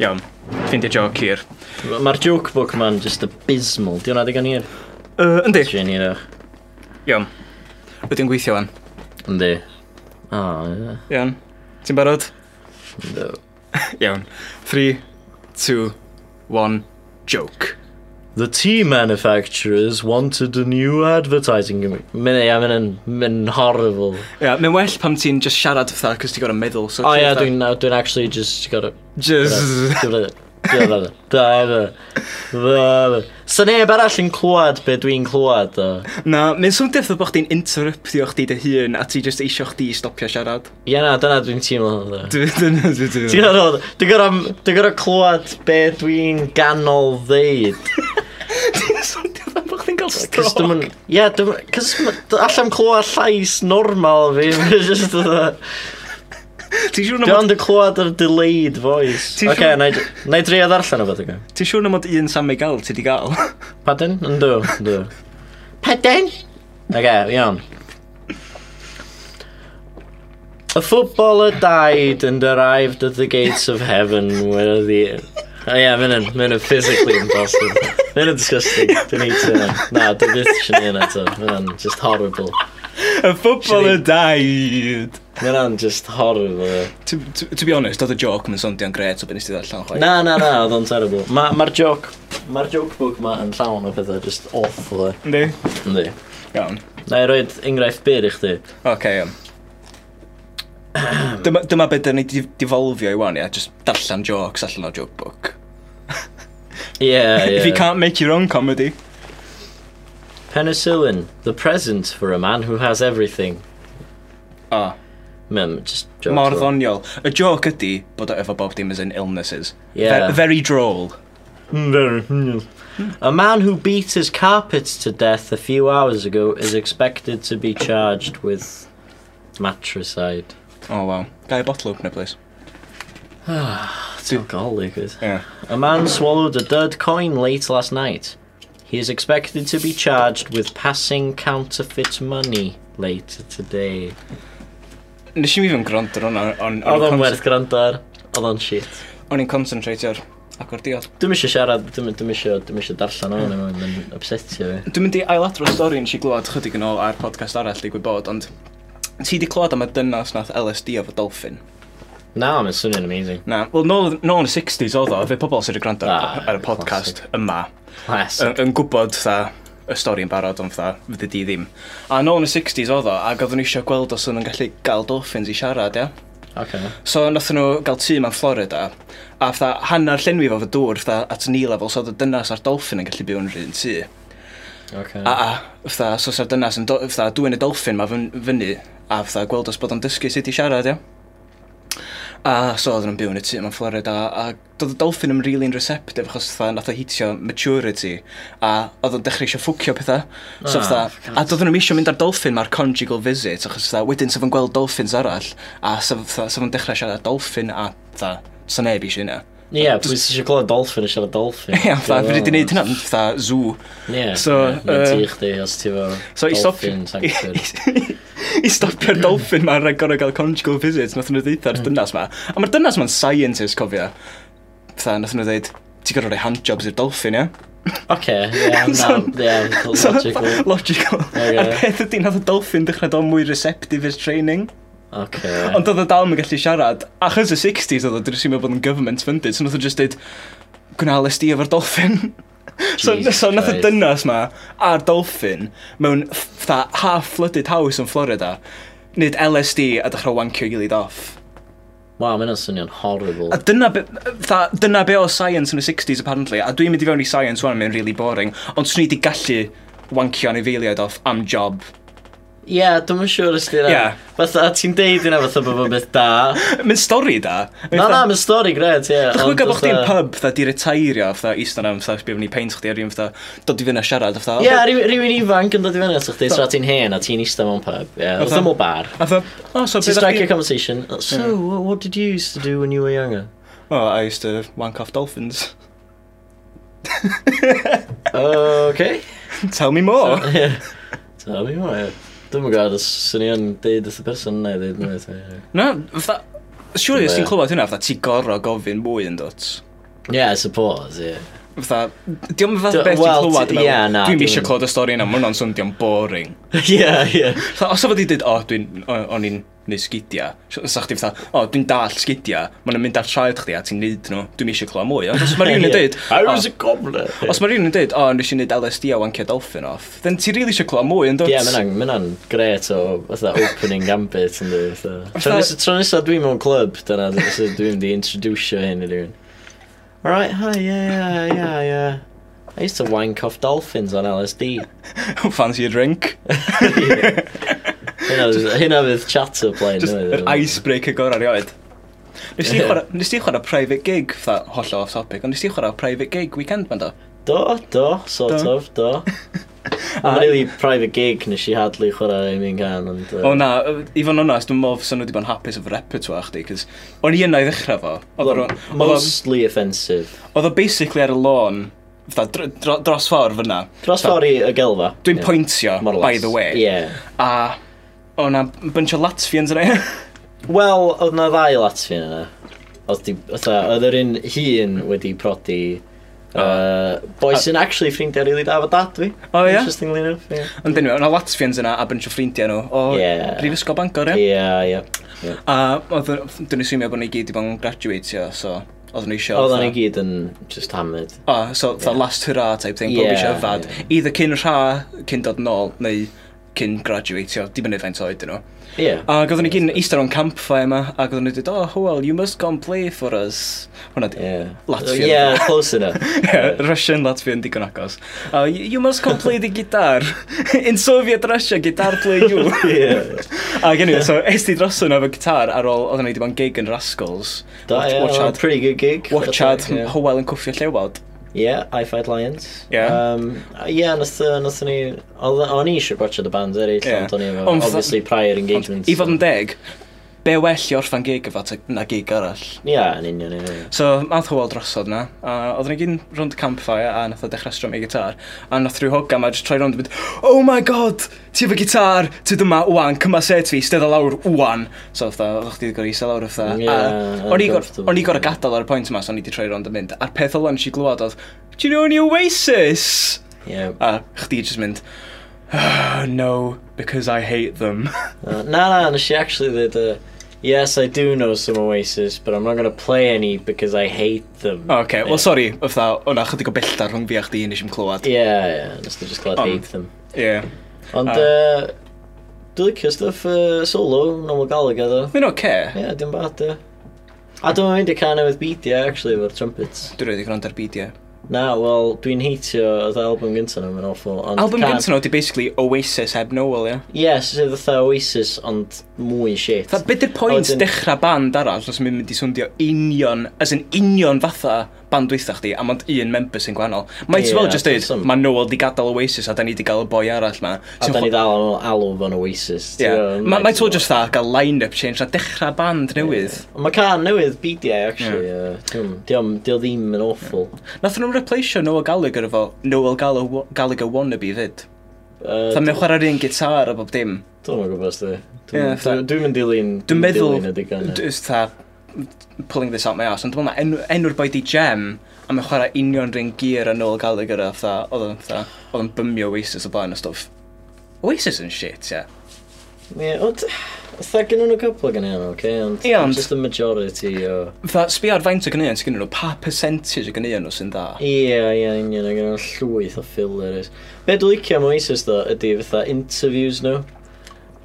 iawn, ffeindio joc hir. M- Mae'r joke book ma'n just abysmal. Di hwnna digon hir? Uh, yndi, Dwi'n hir o'ch. iawn. Wedi'n gweithio fan. Yndi. O, ie. Iawn. Ti'n barod? Yndw. Iawn. 3, 2, 1, joke. The tea manufacturers wanted a new advertising... Mynd, ia, mynd yn, mynd yn horrible. Ie, yeah, mae'n well pam ti'n just siarad fatha, cos ti'n gorau meddwl. So O, ti ia, fatha- dwi'n, dwi'n actually just got a... Just... Sa neb arall yn clywed be dwi'n clywed o. Na, mae'n swndio fatha bod chdi'n interruptio chdi dy hun a ti just eisio chdi stopio siarad. [laughs] Ie na, dyna dwi'n teimlo hwnna. Dwi'n Ti'n gorfod, dwi'n gorfod, dwi'n gorfod clywed be dwi'n ganol ddeud. swndio fatha bod chdi'n cael Cys dwi'n mynd, ie, dwi'n mynd, cys ma- d- allan clywed llais normal fi, [laughs] mae'n just dda. Ti'n siŵr na Dwi'n mod- ond yn clywed yr delayed voice. Ti Oce, siŵr- na i drio ddarllen e. o beth o'n ti'n siŵr na mod un Sam ei gael ti di gael? [laughs] Paden? Yndw, yndw. Paden? Okay, iawn. A footballer died and arrived at the gates of heaven where the... O ie, mae'n yn, mae'n yn physically impossible. Mae'n yn disgusting. Dwi'n ei ti yna. Na, dwi'n byth sy'n ei yna to. Mae'n yn just horrible. A footballer died. Mae'n yn just horrible. ie. To, to, to be honest, oedd y joc mae'n swnio'n gret o beth nes ti ddarllen chwaith. Na, na, na, oedd o'n terrible. Mae'r ma ma'r joke, mae'r joke book ma yn llawn o pethau just awful. ie. Yndi? Yndi. Iawn. Na i roed enghraifft byr i chdi. Oce, [clears throat] iawn. Dyma, dyma beth dyn ni di defolfio i wan, ia, just darllen jocs allan o joke book. Ie, ie. [laughs] If you can't make your own comedy. Penicillin, the present for a man who has everything. Ah. Mem, just joke. Mor ddoniol. Y joc ydi bod o efo bob dim as in illnesses. Yeah. Ve- very droll. Hmm, A man who beat his carpets to death a few hours ago is expected to be charged with matricide. Oh, wow. Gai bottle opener, please. That's alcoholic. is- Yeah. A man swallowed a dud coin late last night. He is expected to be charged with passing counterfeit money later today. Nes i'm even gwrando ar hwnna. on- on- Oedd o'n werth gwrando ar, oedd o'n shit. O'n i'n concentrate ar acordion. Dwi'n eisiau siarad, dwi'n eisiau, dwi'n eisiau darllen o'n yma, mae'n upsetio fi. Dwi'n mynd i ailadro stori nes i glwad chydig yn ôl ar podcast arall i gwybod, ond ti di clywed am y dynas nath LSD efo dolphin? Na, mae'n swnio'n amazing. Na, wel, nôl, nôl yn y 60s oedd o, fe pobl sydd wedi gwrando ar, Ah, ar y podcast yma Class. yn, yn gwybod tha, y stori yn barod, ond tha, fydde di ddim. A nôl yn y 60s oedd o, ac oedden nhw eisiau gweld os oedden nhw'n gallu gael dolphins i siarad, ia? Okay. So nathon nhw gael tîm am Florida, a fatha hanner llenwi fo fy dŵr, fatha at ni lefel, so oedd y dynas a'r dolphin yn gallu byw yn yr un tŷ. Okay. A, a, fatha, so sa'r dynas yn, do- fatha, dwi'n y dolphin ma fyn, fyny, a fatha, gweld os bod o'n dysgu sut i siarad, ia. A so oedden nhw'n byw yn y tŷ yma yn Florida, a doedd y dolphin yn really'n receptive, achos fatha, nath o hitio maturity, a oedd o'n dechrau eisiau ffwcio pethau. So Ah, fatha, for a God's doedden nhw'n eisiau mynd ar dolphin ma'r conjugal visit, achos fatha, wedyn sef yn gweld dolphins arall, a sef yn dechrau siarad dolphin, a fatha, sa neb eisiau hynna. Ie, yeah, pwy sy'n clywed dolphin yn siarad dolphin? Ia, fatha, fi wedi gwneud hynna, yn fatha, zoo. Ie, So, mae'n yy, ti chdi os ti fo So i stopio... dolphin [laughs] sanctuary. I stopio'r dolphin ma rhaid gorau gael conjugal visits, nath nhw ddeud ar dynas ma. A mae'r dynas ma'n scientist, cofio. Tha, nath nhw ddeud, ti gorau rhoi handjobs i'r dolphin, ia? Oce, ie, na, So- ie, [laughs] So, logical. Logical. Ocê. A'r peth ydy, nath y dolphin dechrau dod mwy receptive i'r training. Oce. Ond oedd y dal yn gallu siarad. Achos y 60s oedd o, dwi'n symud bod yn government funded, so nath o just dweud, gwna LSD efo'r dolphin. [laughs] so, Jesus so nath y Christ. dynas ma a'r dolphin mewn fatha half-flooded house yn Florida, nid LSD a dechrau wankio ei gilydd off. Waw, mae'n swnio'n horrible. A dyna be, tha, dyna be o science yn y 60s apparently, a dwi'n mynd i fewn i science wan, mae'n really boring, ond swn i wedi gallu wankio anifeiliaid off am job. [laughs] Ie, dwi'n yn siŵr os ti'n Ie. Fatha, ti'n deud yna fatha bod o'n beth da. Mae'n stori da. Na, na, mae'n stori gred, ie. Dychmyga ond bod chdi'n fatha- pub, fatha, di retairio, fatha, eistedd am, fatha, sbio fyny peint chdi ar un, fatha, dod i fyna siarad, fatha. "Oh, Ie, ry- rywun ifanc yn dod i fyny at chdi, tra ti'n hen a ti'n eistedd mewn pub. Ie, oedd Fatha- ddim o bar. A fatha, oh, so Ti'n beth strike a chdi... conversation. So, what- what did you used to do when you were younger? Oh, I used to wank off dolphins. [laughs] Okay. Tell me more. Ie. [laughs] Tell me more. ie. Dwi'n mwyn gwybod os swnio'n deud wrth y person yna i ddeud nhw eto. ie. [laughs] Na, fatha, siwr os Ie. ti'n clywed hynna, fatha, ti gorau gofyn mwy yn dod. Yeah, I suppose, yeah. [laughs] Fatha, diolch yn fath Do- beth ti'n wel, clywed, ti- meddwl, ie, na, dwi'n dwi'n- eisiau clywed y stori yna, mae hwnna'n swndio'n boring. yeah, yeah. Fatha, os o fod i dweud, o, dwi'n, o- o'n i'n neud sgidia, sa chdi fatha, o, dwi'n dall sgidia, mae nhw'n mynd ar traed chdi a ti'n neud nhw, dwi'n eisiau clywed mwy. Ond os mae [laughs] rhywun yn dweud, I was a gobbler. "Oh." Os mae rhywun yn dweud, o, oh, nes i wneud LSD a wancio dolphin off, then ti rili eisiau clywed mwy, yn dod? Ie, mae'n mae'n gret o fatha opening gambit yn dweud. Tro nes- tro nesaf dwi'n mewn club, dyna sut dwi'n mynd i introducio hyn i rhywun. Alright, hi, yeah, yeah, yeah, yeah. I used to wank off dolphins on [laughs] LSD. Fancy a [laughs] drink? Hynna fydd- hynna fydd chatter plaen. Just yr icebreaker gorau rioed. Nes ti Ie. chwarae, nes ti chwarae private gig, fatha, holl off topic, ond nes ti chwarae private gig weekend, man do? Do, do, sort Do. of, [laughs] do. Mae'n really private gig nes i hadlu chwarae un i'n gan, ond... O na, yy, i fod yn onest, dwi'n modd sy'n nhw wedi bod yn hapus efo'r repertoire chdi, cys o'n i yna i ddechrau fo. Oedd Wel, o'n- oedd o'n- Mostly offensive. Oedd o basically ar y lôn, fatha, dr- dro- dros ffordd fyna. Dros ffordd i y gelfa. Dwi'n Ie. pointio, More or by less. the way. Ie. A, o na, bunch o Latvians yna. [laughs] Wel, oedd na ddau Latvian yna. Oedd di- fatha, oedd yr un hun wedi prodi... Uh, boi sy'n actually ffrindiau rili da fo dad fi. O, ie? Interestingly enough, ie. Ond dyn nhw, o'na Latvians yna a bunch o ffrindiau nhw o Ie. yeah. Brifysgol Bangor, ie? Ie, ie. A oedd, dwi'n asumio bod nhw i gyd i bod yn graduatio, so oedd nhw eisiau... Oedden ni fatha- gyd yn just hammered. O, so the last hurrah type thing, yeah, Ie, bob eisiau yfad. ie. Either cyn rha, cyn dod nôl, neu cyn graduatio, di bynnag faint oed nhw. Ie. Ac oedden ni gyd yn eistedd o'n campfire yma, ac oedden nhw wedi oh, well, you must come play for us. Hwna di. Yeah. Latvian. Yeah, close enough. [laughs] Yeah, [laughs] Russian Latvian digon agos. Uh, you you must come play the guitar. [laughs] In Soviet Russia, guitar play [laughs] you. Yeah. A gen so est i droso nhw efo gitar ar ôl oedden ni wedi bod yn gig yn Rascals. Da, Watch- yeah, well, Watchad, pretty good gig. watchad Yeah. Howell yn cwffio llewod. Yeah, I Fight Lions. Yeah. Um, yeah, nath, uh, nath ni... oedd- O'n i eisiau gwachod y band eraill, Yeah. yeah. ond o'n i efo, Ond fatha- obviously, prior engagements. I fod yn deg, be well i orffan gig efo te- na gig arall. Ia, yn union, ia, ia. So, math o wel drosod na, a oedden ni gyn rownd y campfire, a nath o dechrau strwm ei gitar, a nath rhyw hogan ma jyst troi rownd a mynd, Oh my god, ti efo gitar, ti dyma wwan, cyma set fi, stedd o lawr wwan. So, fatha, oeddech chdi wedi gorau isa lawr fatha. Ie, a o'n i gor- uncomfortable. o'n i gorau gadael ar y pwynt yma, so o'n i wedi troi rownd a mynd. A'r peth o lan si glwad oedd, Do you know any Oasis? Ia. A chdi jyst mynd, "Ah, No, because I hate them. [laughs] Uh, na, na, and she actually did uh, Yes, I do know some Oasis, but I'm not going to play any because I hate them. OK, Yeah. Oh, well, sorry, fatha, o'na chydig o belltar rhwng fi a chdi nes i'm clywed. Yeah, yeah, just, just glad Ond- hate them. Yeah. Ond, Ah. uh, dwi'n licio stuff uh, solo, normal Gallagher, though. Mae'n oce. Yeah, dim bad, uh. A dwi'n mynd i can with beatia, actually, efo'r trumpets. Dwi'n rhaid i gwrando ar beidio. Na. Na, wel, dwi'n heitio oedd album gyntaf nhw, mae'n awful. Ond Album can- gyntaf nhw, di basically Oasis heb Noel, ie. Yes, sydd oedd Oasis, ond mwy shit. Tha, beth yw'r pwynt Wedyn- dechrau band arall os mi'n mynd i swndio union, as yn union fatha band weitha chdi, a mond un member sy'n gwahanol. Might as Ie, well just dweud, some- mae Noel di gadael Oasis a da ni di gael y boi arall ma. A Sy'n da ni chwa- dal yn alw fo'n Oasis. ti'n Ie. gwbod, Ma- Might as well nice. just dda, gael line-up change, a dechrau band newydd. Ond Mae can newydd BDI, actually. Yeah. Uh, Dio ddim yn awful. Nath nhw'n replacio Noel Gallagher efo Noel Gall- Gallagher wannabe fyd. Uh, Tha, mae'n chwarae'r un gitar a bob dim. Dwi'n yn gwybod sydd. Ie, fatha- Dwi'n mynd dilyn... Dwi'n meddwl, Dwi'n dilyn y just tha, pulling this out my ass, ond dwi'n meddwl na enw- enw'r boi di Gem, a mae'n chwarae union rhan gear a Noel Gallagher a fatha, oedd yn fatha, oedd yn bymio Oasis o blaen a stwff. Oasis yn shit, ie. e. Ond, Tha gen nhw'n cwpl gan iawn, oce? Ond Ie, ond- Just the majority o... Fatha, sbio ar faint o gynnion sy'n gynnyn nhw, pa percentage o gynnion nhw sy'n dda. Ie, ie, union, a gen nhw'n llwyth o filler is. Be dwi'n licio am Oasis, ddo, ydy fatha interviews nhw.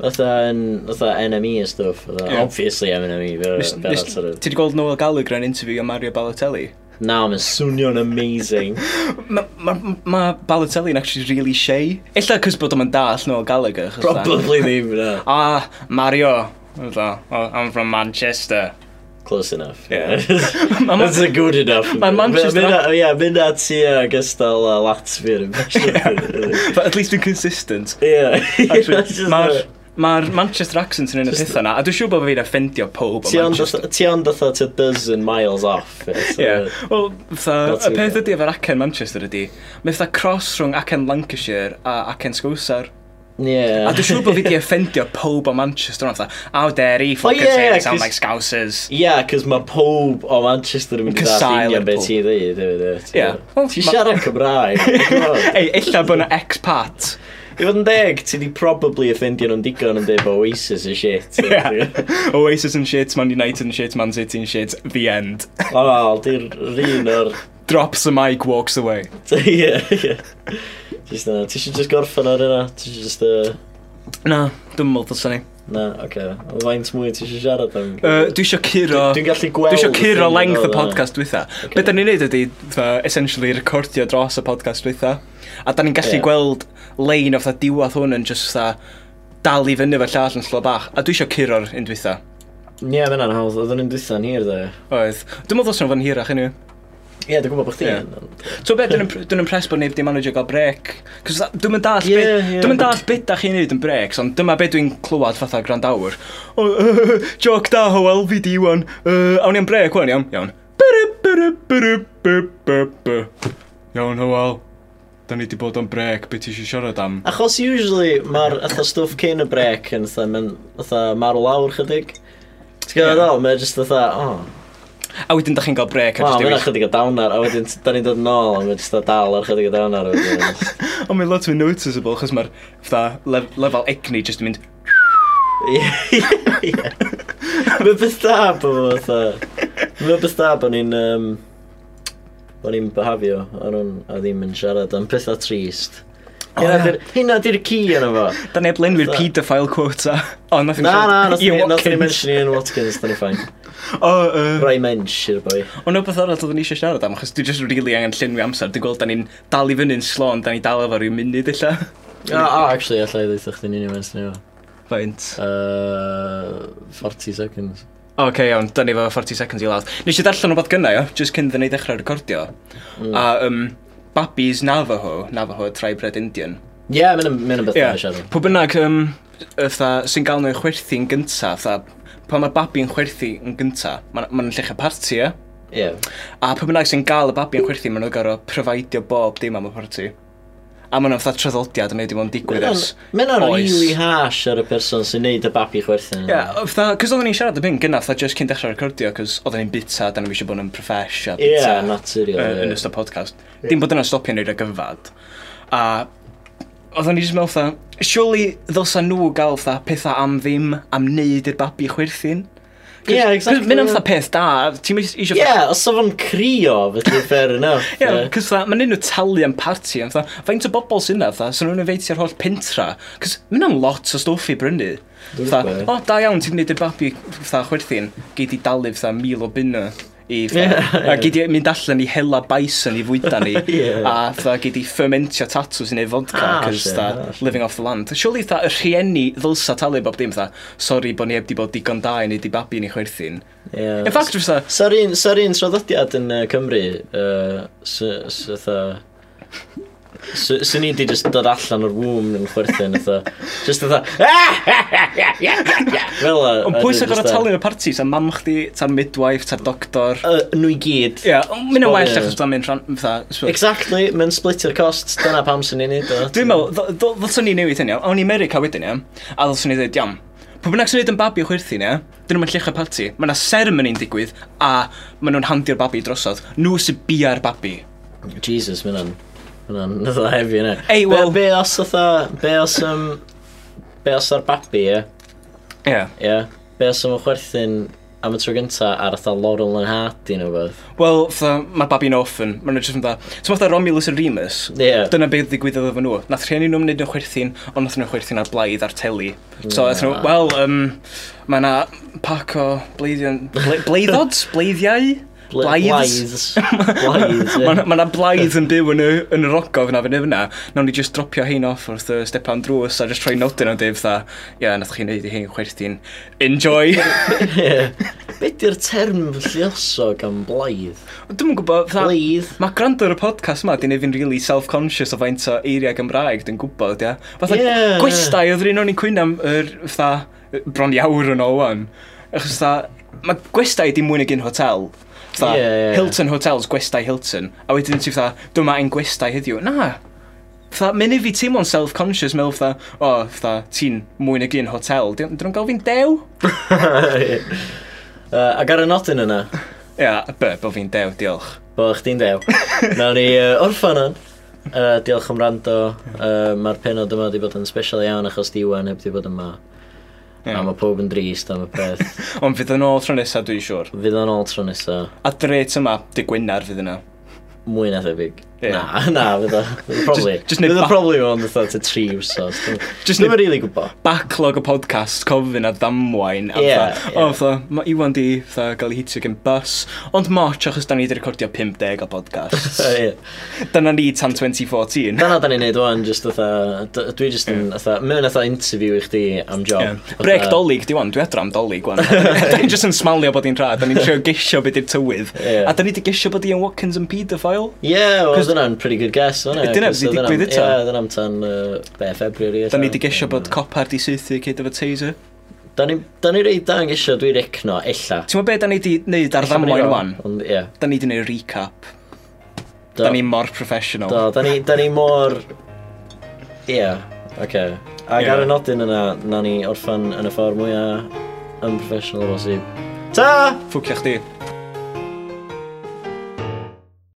Fatha yn... Fatha NME a stuff. fatha- Ie. Obviously NME, E, fe Nes- fe nes- arall Ti wedi gweld Noel Gallagher yn interview o Mario Balotelli? Na, mae'n swnio'n amazing. Mae ma, ma, ma Balotelli'n actually really shy. Ella cys bod o'n dall Noel Gallagher. achos fatha, [laughs] Probably ddim, na. [laughs] Ah, Mario. Fatha, "Oh, I'm from Manchester. Close enough. Yeah. [laughs] That's a good enough. Ma' Manchester- Mynd a- Ie, mynd at i uh, gystal uh, Latvia. [laughs] [laughs] Ie. But at least dwi'n consistent. [laughs] That's just Mae'r a- ma Manchester accent yn un o Just- pethau na, a dwi'n siŵr bod fi'n offendio pob Ti o ond Manchester. fatha- ti ond fatha to dozen miles off. It's, Ie, uh, wel, fatha, Not y peth too ydy efo'r acen Manchester ydy, mae fatha cross rhwng acen Lancashire a acen Sgwsar. Yeah. A dwi'n siŵr bod fi wedi offendio pob o Manchester o'n fatha, how dare he fucking Oh, yeah, say they sound 'cause- like [laughs] Scousers. [laughs] Yeah, cos mae pob o Manchester yn mynd i Casáu ddath union beth Liverpool. i ddeud. hefyd, ie, ti- Ie. Wel, Ti ma- [laughs] siarad Cymraeg. come on. Ei, illa bod yna ex-pat. I fod yn deg, ti di probably offendio nhw'n digon yn dweud Oasis y [laughs] shit. Ie. Oasis and shit, Man United and shit, Man City and shit, the end. [laughs] O, di'r un o'r [laughs] Drops the mic, walks away. Ie, ie. Just na, ti eisiau just gorffen ar yna? Ti eisiau just, uh, Na, dwi'n meddwl dylsyn ni. na, oce. Okay. Faint mwy ti eisiau siarad am? Uh, dwi eisiau curo... Dwi'n gallu gweld... Dwi eisiau curo ffeindio length y fel yna. podcast dwytha. Okay. Be da ni'n neud ydy, fatha, essentially, recordio dros y podcast dwytha. A da ni'n gallu Ie. yeah. gweld lein o fatha diwad hwn yn just fatha dal i fyny fe llall yn slo bach. A dwi eisiau curo'r un dwytha. Ie, mae'n anhawdd. Oedden nhw'n dwytha'n hir, dde. Oedd. Dwi'n meddwl sy'n fan hirach hynny. Ie, dwi'n gwybod bod chdi. Ie. So be, dwi'n impr- dwi'n impressed bod neb di manage gael brec. Cos tha- dwi'n mynd dall Ie, beth, ie. dwi'n mynd dall beth da chi'n neud yn brecs, ond dyma beth dwi'n clywed fatha grandawr. O, uh, [laughs] joc da, ho, LVD wan, uh, awn i'n brec wan, iawn, iawn. Byrru, byrru, byrru, byrru, byrru, byrru. Iawn, Hywel, da ni di bod o'n brec, beth ti eisiau siarad am? Achos usually [laughs] mae'r atho stwff cyn y brec yn atho, mae'n atho marw lawr chydig. Ti'n gwybod ddol, mae'n just atho, o, A wedyn da chi'n cael brec, a wow, mae'n jyst chydig o dawnar, a wedyn t- da ni'n dod yn ôl, a mae'n just atho dal ar chydig o dawnar. [laughs] a wedyn- i- Ond mae'n lot fwy noticeable, chos mae'r fatha, lef- lefel egni jyst yn mynd, Ie, ie. Mae beth da bod fo, fatha. Mae beth da bod ni'n... Um, bod ni'n behafio ar hwn a ddim yn siarad am pethau trist. Hynna ie. di'r- Hynna di'r ci yn efo. da neb lenwi'r Fatha- pedophile quota. [laughs] O, nath ni'n Na, na, siarad- nath ni- Ian nath ni Watkins. mention Ian Watkins, da ni ffain. O, yy, Rai mench i'r boi. Ond o beth arall oeddwn i eisiau siarad am, achos dwi jyst really angen llunwi amser. Dwi'n gweld da ni'n dal i fyny'n slon, da ni dal efo rhyw munud illa. O, o, actually, allai ddeitha chdi'n un i mention efo. Faint. Uh, 40 seconds. Oce, okay, iawn, da ni efo 40 seconds i ladd. Nes i darllen o bod gynnau, o, jyst cyn ddyn ni ddechrau recordio. Mm. A, um, Babis Navajo, Navajo, tribe Red Indian. Ie, yeah, mae'n beth da Ie, siarad. pw bynnag, um, ytha, sy'n gael nhw'n chwerthu'n gyntaf, ytha, pan mae'r babi yn chwerthu yn gynta, mae'n ma llecha parti, ie? Ie. A pwy bynnag sy'n gael y babi yn chwerthu, mae'n gorfod profidio bob dim am y parti. A mae'n fatha traddodiad yn ei ddim ond digwydd ers Mae'n o'n oes. really harsh ar y person sy'n neud y babi chwerthin. Ie, fatha, cos oedden ni'n siarad y byn gyna, fatha just cyn dechrau recordio, cos oedden ni'n bita, da ni eisiau bod yn profesh a Ie, bita. naturiol, yy, ie. Yn ystod podcast. Dim bod yna stopio neud y gyfad. A oedden ni just mewn fatha, surely ddylsa nhw gael fatha pethau am ddim, am neud i'r babi chwerthin. Cos- Ie, exactly, cos Mynd am ie. fatha peth da, ti'n mynd eisiau... Ie, os o'n fo'n crio, fyddi fair enough. [laughs] Ie, cos fatha, mae'n un o talu am party, am fatha, faint o bobl sy'n na, fatha, sy'n nhw'n efeitio'r holl pentra, cos mynd am lot o stwff i brynu. Fatha, gwbod. o, da iawn, ti'n gwneud y babi, fatha, chwerthin, gei di dalu, fatha, mil o bunna i, fatha, Ie, a ie. gei di mynd allan i hela bison i fwyda ni, [laughs] Ie. a fatha, gei di fermentio tatws i neud vodka, Ah, cos, shit, fatha, ah, shit. living off the land. Surely, fatha, y rhieni ddylsa talu bob dim, fatha, sori bod ni heb di bod digon da i neud i babi ni chwerthin. Ie. In fact, fatha, Sa'r un, sa'r un traddodiad yn uh, Cymru, uh, sytha... Swn i di just dod allan o'r womb yn chwerthin, ytho. Just ytho... [laughs] Fel a... Ond pwy sy'n gorau talu yn y parti? Sa'n mam chdi, sa'n midwife, sa'n doctor? Nw i gyd. Ie, ond mynd yn Wel, well ie. achos dwi'n mynd rhan... fatha, sbo- Exactly, mae'n splitio'r cost, dyna pam sy'n ni'n neud o. Dwi'n meddwl, ddyl- ddyl- ddylswn ni newid hynny, iawn. awn i America wedyn ia, a ddylswn ni dweud, iawn, pwy bynnag sy'n neud yn babi o chwerthin ia, dyn nhw'n llech y parti, mae yna seremoni'n digwydd, a maen nhw'n handio'r babi drosodd, nhw sy'n bia'r babi. Jesus, mae'n an... Mae'n an... [laughs] Ytho hefi yna. Ei, wel- Be os ytho... Be os... Um, be os ar babi, ie? Ie. Ie. Be os am y chwerthin am y tro gynta ar ytho Laurel yn Hardy neu beth? Wel, fatha, mae'r babi'n orphan, maen nhw'n just yn fatha, ti'n fatha Romulus and Remus, Ie. Dyna beth ddigwyddodd efo nhw. Nath rhieni nhw'n wneud yn chwerthin, ond nath nhw'n chwerthin ar blaidd ar teli. So, nath nhw, wel, um, mae yna pac o bleiddion... ble- Bleiddods? Bleiddiau? Bla- [laughs] Blaids. Blaids, ie. Mae yna blaidd yn byw yn y, yn y rogof na fyny fyna. Nawn ni just dropio hein off wrth y stepan drws a just troi nodyn o'n dweud fatha, ie, yeah, nath chi wneud i hein chwerthin. Enjoy! [laughs] Ie. Be di'r term lluosog am blaidd? Dwi'n gwybod, fatha... Blaidd? [laughs] Mae gwrando ar y podcast yma, di neud fi'n really self-conscious o faint o eiriau Gymraeg dwi'n gwybod, ia. Fatha, Ie. yeah. gwestai oedd rhan o'n i'n cwyn am yr, fatha, bron iawr yn olwan. Achos, fatha, mae gwestai di mwy nag un hotel. Fatha, Ie, ie. Hilton Hotels, gwestai Hilton. A wedyn ti fatha, dwi'n ma ein gwestai heddiw. Na, Fytha, mynd i fi teimlo'n self-conscious, mewn fytha, o, oh, fytha, ti'n mwy nag un hotel, dyn nhw'n gael fi'n dew? Yy, Ac ar y nodyn yna, Ia, be, bo fi'n dew, diolch. bo chdi'n [laughs] dew, nawn ni yy, orffan o'n. Uh, diolch am rando. Uh, Mae'r penod yma wedi bod yn special iawn achos diwan heb wedi bod yma. Ie. Yeah. A mae pob yn drist am y peth. [laughs] Ond fydd yn ôl tro nesaf, dwi'n siŵr. Fydd o'n ôl tro nesa. A dret yma, dy Gwynar fydd yna. Mwy na thebyg. Ie. Na, [laughs] na, fydd o. Fydd o probably. Just- just neud Fydd o ba- probably o'n dda to tri wrsos. Just Just ddim neud- yn rili gwybod. Backlog o podcast, cofyn a ddamwain. A Ie, fatha, ie. O, fatha, mae Iwan di fatha, gael ei hitio gen bus. Ond moch, achos da ni wedi recordio 50 o [laughs] podcast. Yy, ie. Dyna ni tan 2014. Dyna da ni'n neud o'n just otha, d- dwi just yn otha, mewn otha interview i chdi am job. Ie. Fatha- Brec dolig, di wan, dwi adro am dolig, [laughs] wan. Da ni'n just yn smalio bod ni'n rhad, da ni'n trio gesio beth i'r tywydd. Ie. A da ni wedi gesio bod Ian Watkins yn pedophile. Ie, wel, 'Cos- dyna'n pretty good guess, fyna. Dyna be' 'di digwydd eto. Ie, dyna'n tan yy, be, February. Da ni wedi gesio bod copar di saethu cyd efo taser. Da ni reid da'n gesio, dwi'n recno, ella. Ti'n gwybod beth da ni wedi neud ar Ella ma'n ddamwain wrong, wan? Ond, ie. Da ni wedi neud recap. Do- Da ni mor professional. Do, da ni, da ni mor... Ie, oce. Ac Ie. ar y nodyn yna, na ni orffan yn y ffordd mwyaf unprofessional o bosib. Ta! Ffwcio chdi.